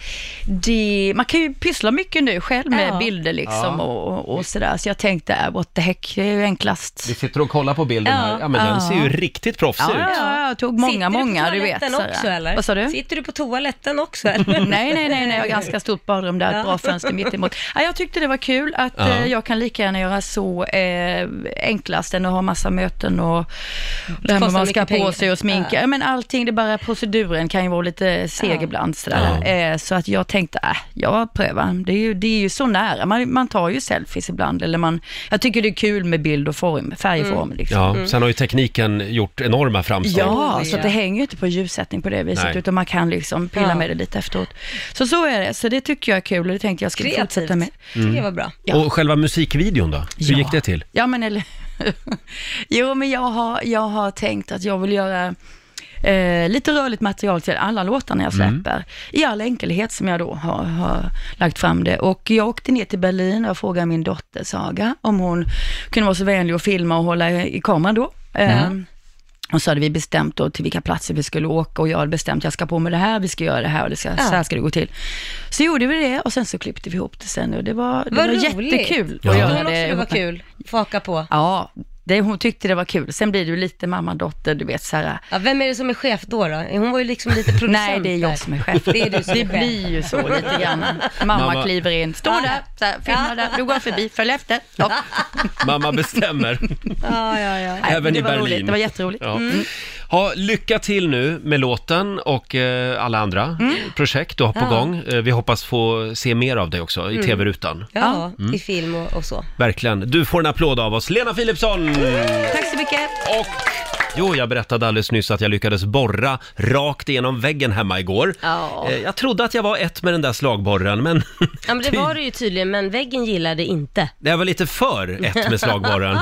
H: det... Man kan ju pyssla mycket nu själv med
B: Ja.
H: bilder liksom
A: Ja.
H: och, och, och sådär, så jag tänkte, äh, what the heck, det är ju enklast.
A: Vi sitter och kollar på bilden
H: Ja.
A: här. Ja, men den
H: Ja.
A: ser ju riktigt proffsig
H: Ja,
A: ut.
H: ja, jag tog många,
B: Sitter
H: många,
B: du
H: du
B: på
H: vet.
B: toaletten
H: sådär.
B: också eller?
H: Vad sa du?
B: Sitter du på toaletten också eller?
H: [LAUGHS] nej, nej, nej, nej, jag har ganska stort badrum där,
B: Ja.
H: ett bra fönster mitt emot. Ja, jag tyckte det var kul att
B: Ja.
H: eh, jag kan lika gärna göra så eh, enklast än att ha massa möten och, och det
B: kostar
H: här med vad man ska
B: mycket
H: på
B: pengar.
H: sig och sminka. Ja. Men allting, det är bara proceduren kan ju vara lite seg ibland sådär. Eh, så att jag tänkte, äh, jag prövar. Det är ju, det är ju så nära, man, man tar ju selfies ibland. Eller man, jag tycker det är kul med bild och form, färg och form.
B: Mm.
H: Liksom.
A: Ja, sen har ju tekniken gjort enorma framsteg.
B: [LAUGHS]
H: Ja, så att det hänger ju inte på ljussättning på det viset,
A: Nej.
H: utan man kan liksom pilla
A: Ja.
H: med det lite efteråt. Så så är det, så det tycker jag är kul och det tänkte jag skulle
B: Kreativt.
H: fortsätta med.
A: Mm. Det var
B: bra.
H: Ja.
A: Och själva musikvideon då? Hur
H: Ja.
A: gick det till?
H: Ja, men eller [LAUGHS] Jo, men jag har, jag har tänkt att jag vill göra eh, lite rörligt material till alla låtar när jag
A: Mm.
H: släpper. I all enkelhet som jag då har, har lagt fram det. Och jag åkte ner till Berlin och frågade min dotter Saga om hon kunde vara så vänlig och filma och hålla i i kameran då.
B: Mm.
H: Eh, och så hade vi bestämt då till vilka platser vi skulle åka och jag hade bestämt jag ska på med det här, vi ska göra det här och det ska,
B: Ja.
H: så här ska det gå till. Så gjorde vi det och sen så klippte vi ihop det sen och det var, det
B: Vad
H: var
B: roligt.
H: jättekul.
B: Ja. Tyckte
H: att göra
B: hon också det var
H: ihop med-
B: kul? Få haka på?
H: Ja, det, hon tyckte det var kul. Sen blir det ju lite mamma-dotter, du vet så här.
B: Ja, vem är det som är chef då? då? Hon var ju liksom lite producent
H: Nej, det är jag
B: där.
H: som är chef.
B: Det är du
H: [LAUGHS]
B: som är
H: Det
B: chef.
H: blir ju så lite grann. Mamma,
A: Mamma-
H: kliver in, står där, så här, filmar där, du går förbi, följ efter. Ja.
A: Mamma
H: [LAUGHS]
A: bestämmer.
B: Ja, ja, ja.
H: Nej, men
A: Även
H: det
A: i
H: var
A: Berlin.
H: roligt. Det var jätteroligt.
A: Ja.
H: Mm.
A: Ha, lycka till nu med låten och eh, alla andra
H: Mm.
A: projekt du har på
B: Ja.
A: gång. Eh, vi hoppas få se mer av dig också i
B: Mm.
A: tv-rutan.
B: Ja,
A: Mm.
B: i film och, och så.
A: Verkligen. Du får en applåd av oss. Lena Philipsson!
H: Tack så mycket.
A: Och... Jo, jag berättade alldeles nyss att jag lyckades borra rakt igenom väggen hemma igår.
B: Ja.
A: Eh, Jag trodde att jag var ett med den där slagborren, men [LAUGHS]
B: Ja, men det
A: Typ.
B: var det ju tydligen, men väggen gillade inte. [LAUGHS]
A: jag var lite för ett med
C: [LAUGHS]
A: slagborren.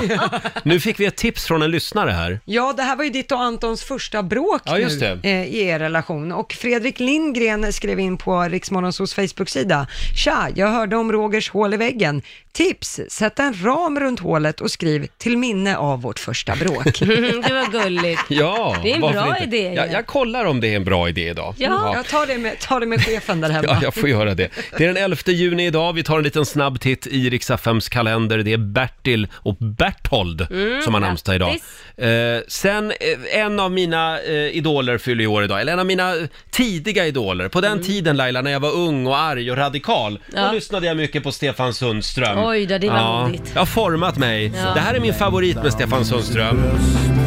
A: Nu fick vi ett tips från en lyssnare här.
C: Ja, det här var ju ditt och Antons första bråk
A: Ja, just
C: nu, eh, i er relation. Och Fredrik Lindgren skrev in på Riksmorgonsos Facebook-sida. Tja, jag hörde om Rogers hål i väggen. Tips, sätt en ram runt hålet och skriv till minne av vårt
A: [LAUGHS]
C: första bråk.
B: det var gulligt.
A: Ja,
C: Det är en
A: varför
C: bra
A: inte?
C: idé,
A: Jag,
C: ju.
A: jag kollar om det är en bra idé idag.
C: Ja, jag tar det med, tar det med chefen där hemma.
A: Ja, jag får göra det. Det är den 11 juni idag. Vi tar en liten snabb titt i Rix FMs kalender. Det är Bertil och Berthold
F: Mm,
A: som har namnsdag idag.
F: grattis.
A: Eh, sen, eh, en av mina eh, idoler fyller ju år idag, eller en av mina tidiga idoler. På den tiden Laila, när jag var ung och arg och radikal,
B: Mm. Ja.
A: då lyssnade jag mycket på Stefan Sundström.
B: Oj då, det var
A: ja.
B: modigt.
A: Jag har format mig.
B: Ja.
A: Det här är min favorit med Stefan Sundström.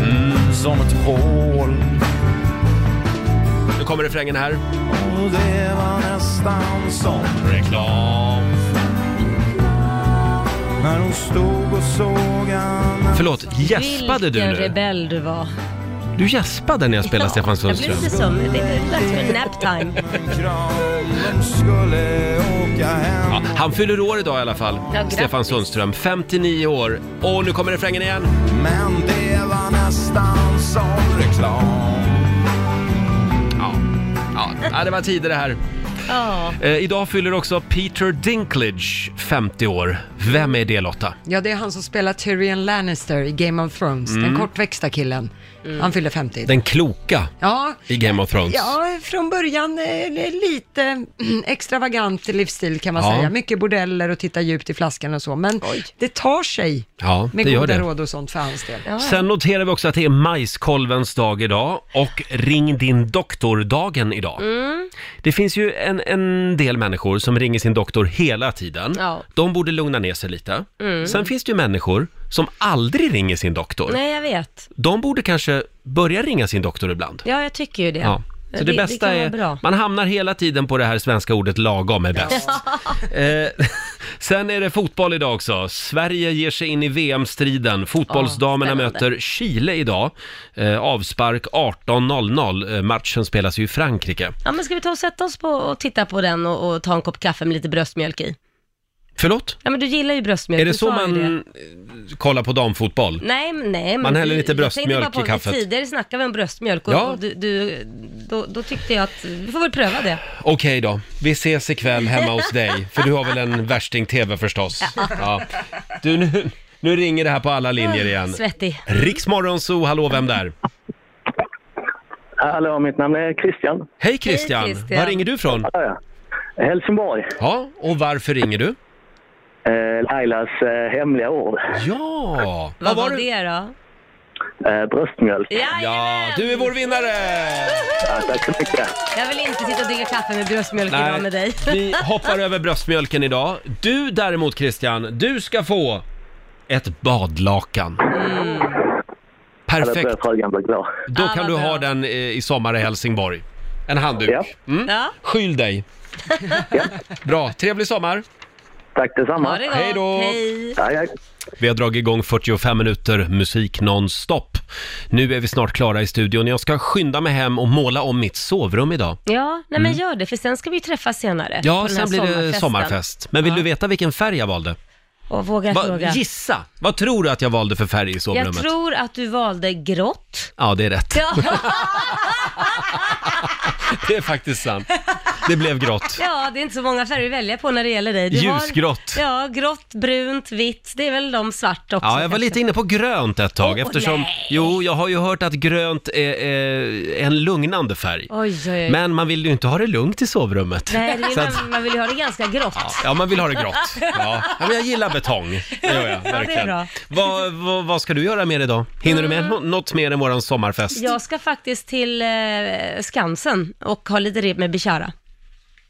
A: Mm.
M: Som ett hål.
A: Nu kommer refrängen här.
M: Och det var nästan som
A: Reklam.
M: När hon stod och såg en...
A: Förlåt, gäspade du
B: Vilken
A: nu?
B: rebell du var.
A: Du gäspade när jag spelade Stefan
B: Jag blev
A: Sundström.
B: lite sömnig, det är dags för nap time.
M: De skulle åka hem
A: Ja, han fyller år idag i alla fall,
M: grattis.
A: Stefan Sundström. 59 år. Och nu kommer refrängen igen.
M: Men det var nästan som reklam
A: Ja, ja. ja det var tider det här.
B: Ja.
A: Eh, idag fyller också Peter Dinklage 50 år. Vem är det Lotta?
C: Ja, det är han som spelar Tyrion Lannister i Game of Thrones,
A: Mm.
C: den kortväxta killen. Han fyller 50.
A: Den kloka
C: Ja,
A: i Game of Thrones.
C: Ja, från början eh, lite mm, extravagant livsstil kan man
A: Ja.
C: säga. Mycket bordeller och titta djupt i flaskan och så. Men det tar sig
A: Ja,
C: med
A: det gör
C: goda
A: det.
C: råd och sånt för hans del.
A: Sen noterar vi också att det är majskolvens dag idag och ring din doktor-dagen idag.
B: Mm.
A: Det finns ju en, en del människor som ringer sin doktor hela tiden.
B: Ja.
A: De borde lugna ner sig lite.
B: Mm.
A: Sen finns det ju människor som aldrig ringer sin doktor.
B: Nej, jag vet.
A: De borde kanske börja ringa sin doktor ibland.
B: Ja, jag tycker ju det.
A: Ja. Så det, bästa
B: kan vara
A: är,
B: bra.
A: man hamnar hela tiden på det här svenska ordet lagom är bäst. [LAUGHS] Eh, sen är det fotboll idag också. Sverige ger sig in i VM-striden. Fotbollsdamerna
N: Ja, spännande.
A: möter Chile idag. Eh, avspark 18.00. Eh, matchen spelas ju i Frankrike.
B: Ja, men ska vi ta och sätta oss på och titta på den och, och ta en kopp kaffe med lite bröstmjölk i?
A: Förlåt?
B: Ja, men du gillar ju bröstmjölk.
A: Är det
B: du
A: så
B: sa ju
A: man
B: det.
A: eh, kollar på damfotboll?
B: Nej, men- nej. men
A: Man häller
B: du-
A: lite
B: Jag
A: bröstmjölk
B: tänkte bara
A: i
B: på att
A: kaffet.
B: vi tidigare snackade vi om bröstmjölk och,
A: Ja.
B: och du, du, då, då tyckte jag att vi får väl pröva det.
A: Okej då, vi ses ikväll hemma hos dig, för du har väl en värsting-TV förstås?
B: Ja.
A: Ja. Du, nu, nu ringer det här på alla linjer igen.
B: Svettig.
A: Riksmorgonzoo, hallå, vem där?
O: Hallå, mitt namn är Christian.
A: Hej Christian.
O: Hej, Christian.
A: Var ringer du ifrån?
O: Helsingborg.
A: Ja, och varför ringer du?
O: Eh, Lailas eh, hemliga ord.
A: Ja!
B: Vad var det då?
O: Eh, bröstmjölk.
A: Ja, du är vår vinnare!
O: Ja, tack så mycket.
B: Jag vill inte sitta och dricka kaffe med bröstmjölk idag med dig.
A: [LAUGHS]
B: [LAUGHS]
A: vi hoppar över bröstmjölken idag. Du däremot Christian, du ska få ett badlakan.
B: Mm.
A: Perfekt. Då kan du ha den eh, i sommar i Helsingborg. En handduk. Mm.
B: Ja.
A: Skyll dig. Bra, trevlig sommar.
O: Tack detsamma.
A: Ha det gott. Hej då. Hej.
O: Hej, hej.
A: Vi har dragit igång 45 minuter musik nonstop. Nu är vi snart klara i studion. Jag ska skynda mig hem och måla om mitt sovrum idag.
B: Ja, nej
A: Mm.
B: men gör det, för sen ska vi ju träffas senare. på
A: Ja,
B: den här
A: sen blir det
B: sommarfesten.
A: sommarfest. Men vill du veta vilken färg jag valde?
B: Och våga
A: Va-
B: fråga.
A: Gissa! Vad tror du att jag valde för färg i
B: Jag
A: sovrummet?
B: tror att du valde grått.
A: Ja, det är rätt.
B: [LAUGHS]
A: [LAUGHS]
B: Ja,
A: Det är faktiskt sant. Det blev grått.
B: ja, det är inte så många färger att välja på när det gäller dig. Du har-
A: Ljusgrått.
B: ja, grått, brunt, vitt. Det är väl de svart också.
A: Ja, jag var
B: kanske.
A: lite inne på grönt ett tag
B: Åh,
A: eftersom...
B: nej.
A: Jo, jag har ju hört att grönt är, är en lugnande färg.
B: Oj, oj, oj.
A: Men man vill ju inte ha det lugnt i sovrummet.
B: Nej, det är,
A: [LAUGHS] Så att-
B: man, man vill ju ha det ganska grått.
A: Ja, man vill ha det grått. Ja. Ja, men jag gillar betong. Det gör jag,
B: Ja, det är
A: verkligen.
B: bra. Mm.
A: Vad, vad, vad ska du göra mer idag? Hinner du med nå- något mer än våran sommarfest?
B: Jag ska faktiskt till eh, Skansen och ha lite rep med Bishara.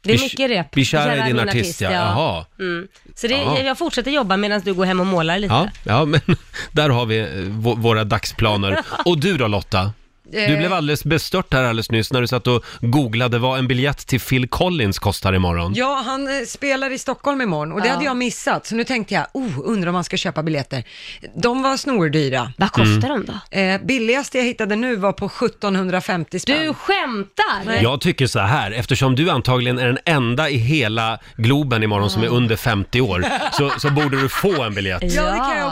B: Det är
A: Bish-
B: mycket rep.
A: Bishara är din artist, ja. Jaha.
B: Mm. Så det,
A: Jaha.
B: jag fortsätter jobba medan du går hem och målar lite.
A: Ja, ja, men [LAUGHS] där har vi eh, vå- våra dagsplaner. Och du då Lotta? Du
B: Eh.
A: blev alldeles bestört här alldeles nyss när du satt och googlade vad en biljett till Phil Collins kostar imorgon.
C: Ja, han eh, spelar i Stockholm imorgon och det
B: Ja.
C: hade jag missat. Så nu tänkte jag, oh, undrar om man ska köpa biljetter. De var snordyra.
B: Vad
A: kostar Mm.
B: de
C: då? Eh, billigaste jag hittade nu var på 1750 spänn. Du
B: skämtar!
A: Jag tycker så här, eftersom du antagligen är den enda i hela Globen imorgon som är
B: Mm.
A: under 50 år, så, så borde du få en biljett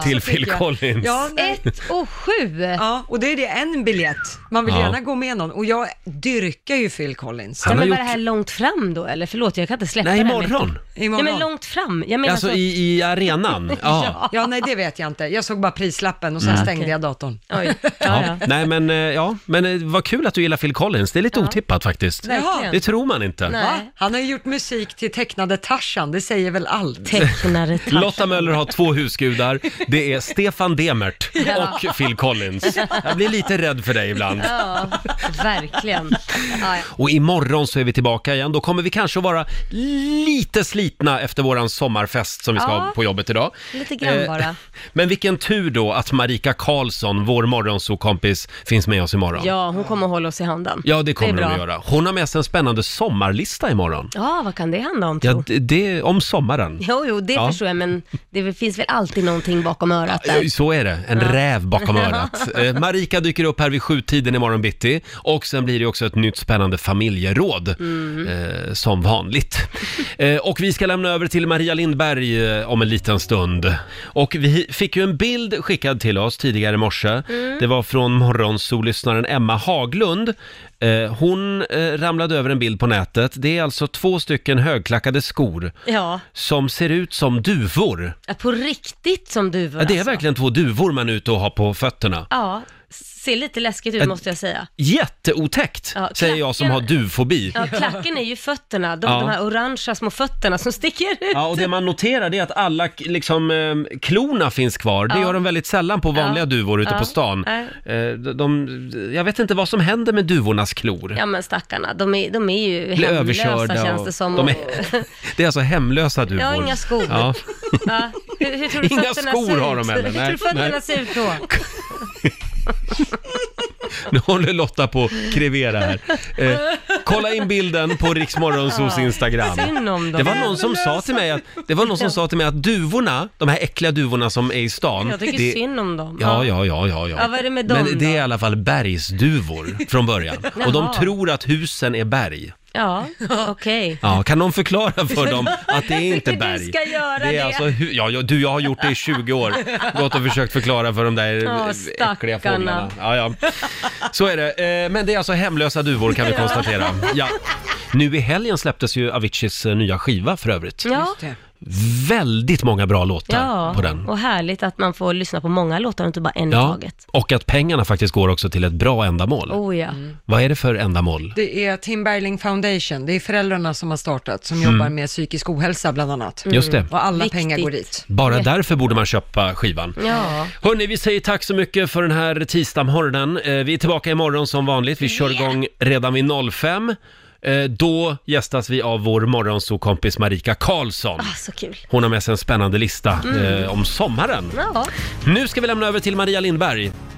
A: till Phil Collins.
B: Ett och sju.
C: Ja, och det är det en biljett. Man vill
A: Ja.
C: gärna gå med någon. Och jag dyrkar ju Phil Collins.
A: Han Ja, men har var
B: det här långt fram då eller? Förlåt, jag kan inte släppa
A: Nej,
B: det här
A: imorgon.
B: Med... Ja, men långt fram. Jag menar
A: alltså
B: så... [LAUGHS]
A: i, i arenan? Ja.
C: ja, nej det vet jag inte. Jag såg bara prislappen och sen
A: Mm.
C: stängde
B: Okej.
C: jag datorn.
B: Oj.
A: Ja. Nej men eh, ja, men eh, vad kul att du gillar Phil Collins. Det är lite otippat faktiskt.
C: Verkligen.
A: Det tror man inte.
C: Va? Han har ju gjort musik till tecknade Tarzan, det säger väl allt?
B: Tecknade
A: [LAUGHS] Lotta Möller har två husgudar. Det är Stefan Demert
B: Ja.
A: och Phil Collins. Jag blir lite rädd för dig ibland.
B: Ja, verkligen. Ja, ja.
A: Och imorgon så är vi tillbaka igen. Då kommer vi kanske att vara lite slitna efter våran sommarfest som vi ska
B: Ja.
A: ha på jobbet idag.
B: Lite grann
A: Eh,
B: bara.
A: [LAUGHS] Men vilken tur då att Marika Karlsson, vår morgonsokompis, finns med oss imorgon. Ja,
B: Ja, hon kommer hålla oss i handen.
A: ja det kommer hon
B: är
A: att
B: bra.
A: göra. Hon har med sig en spännande sommarlista imorgon.
B: Ja, vad kan det handla om
A: Ja,
B: tro?
A: det, det, om sommaren.
B: Jo, jo, det
A: Ja.
B: förstår jag, men det finns väl alltid någonting bakom örat där.
A: Så är det, en
B: [LAUGHS] Ja.
A: räv bakom örat. Eh, Marika dyker upp här vid sjutiden imorgon bitti och sen blir det också ett nytt spännande familjeråd
B: Mm.
A: eh, som vanligt. Eh, och vi ska lämna över till Maria Lindberg eh, om en liten stund. Och vi fick ju en bild skickad till oss tidigare i morse.
B: Mm.
A: Det var från morgonsolyssnaren Emma Haglund. Eh, hon eh, ramlade över en bild på nätet. Det är alltså två stycken högklackade skor
B: Ja,
A: som ser ut som duvor.
B: på riktigt som duvor
A: Ja, det är
B: alltså.
A: verkligen två duvor man är ute och har på fötterna.
B: Ja, ser lite läskigt ut
A: Ett-
B: måste jag säga.
A: Jätteotäckt,
B: Ja,
A: säger jag som har duvfobi.
B: Ja, klacken är ju fötterna, de,
A: Ja.
B: de här orangea små fötterna som sticker ut.
A: Ja, och det man noterar det är att alla k- liksom, eh, klorna finns kvar. Det
B: Ja.
A: gör de väldigt sällan på vanliga
B: Ja.
A: duvor ute
B: Ja.
A: på stan.
B: Ja.
A: Eh, de, de, jag vet inte vad som händer med duvornas klor.
B: Ja men stackarna, de är, de är ju
A: Blir
B: hemlösa
A: överkörda
B: känns
A: och- [LAUGHS]
B: det som.
A: de
B: och-
A: är- Det är alltså hemlösa duvor.
B: Jag har inga skor.
A: Ja.
B: Ja. Hur, hur tror du
A: [LAUGHS] Inga
B: fötterna
A: skor
B: ser
A: har
B: ut?
A: de heller,
B: Hur tror
A: nej,
B: du fötterna
A: nej.
B: ser ut då?
A: Nu håller Lotta på att krevera här. Eh, kolla in bilden på Riksmorgonsos Instagram.
B: Synd om dem.
A: Det var någon som sa till mig att, det var någon som sa till mig att duvorna, de här äckliga duvorna som är i stan.
B: Jag tycker
A: det,
B: synd om dem.
A: Ja, ja, ja, ja, ja.
B: Ja, vad är det med dem
A: Men det är i alla fall bergsduvor från
B: [LAUGHS]
A: början. Och de
B: Jaha.
A: tror att husen är berg.
B: Ja, okej.
A: [LAUGHS] Ja, kan någon förklara för dem att det är inte
B: [LAUGHS] Jag tycker
A: berg?
B: du ska göra
A: det.
B: det.
A: Är alltså, hu- ja, ja, du, jag har gjort det i 20 år. Gått och försökt förklara för de där
B: [LAUGHS] Ja,
A: oh, äckliga
B: stackarna.
A: fåglarna. Ja, ja. Så är det. Eh, Men det är alltså hemlösa duvor kan vi
B: [LAUGHS] Ja.
A: konstatera. Ja. Nu i helgen släpptes ju Aviciis eh, nya skiva för övrigt.
B: Ja.
A: Väldigt många bra låtar
B: Ja,
A: på den.
B: och härligt att man får lyssna på många låtar och inte bara en i
A: Ja,
B: taget.
A: och att pengarna faktiskt går också till ett bra ändamål.
B: Oh Mm. ja.
A: Vad är det för ändamål?
C: Det är Tim Berling Foundation, det är föräldrarna som har startat, som
A: Mm.
C: jobbar med psykisk ohälsa bland annat.
A: Mm. Just det.
C: Och alla
A: Viktigt.
C: pengar går dit.
A: Bara därför borde man köpa skivan.
B: Ja.
A: Hörni, vi säger tack så mycket för den här tisdagsmorgonen. Eh, Vi är tillbaka imorgon som vanligt. Vi kör igång redan vid 05. Eh, Då gästas vi av vår morgonsokompis Marika Karlsson.
B: Ah, så kul.
A: Hon har med sig en spännande lista
B: Mm.
A: eh, om sommaren.
B: Ja.
A: Nu ska vi lämna över till Maria Lindberg.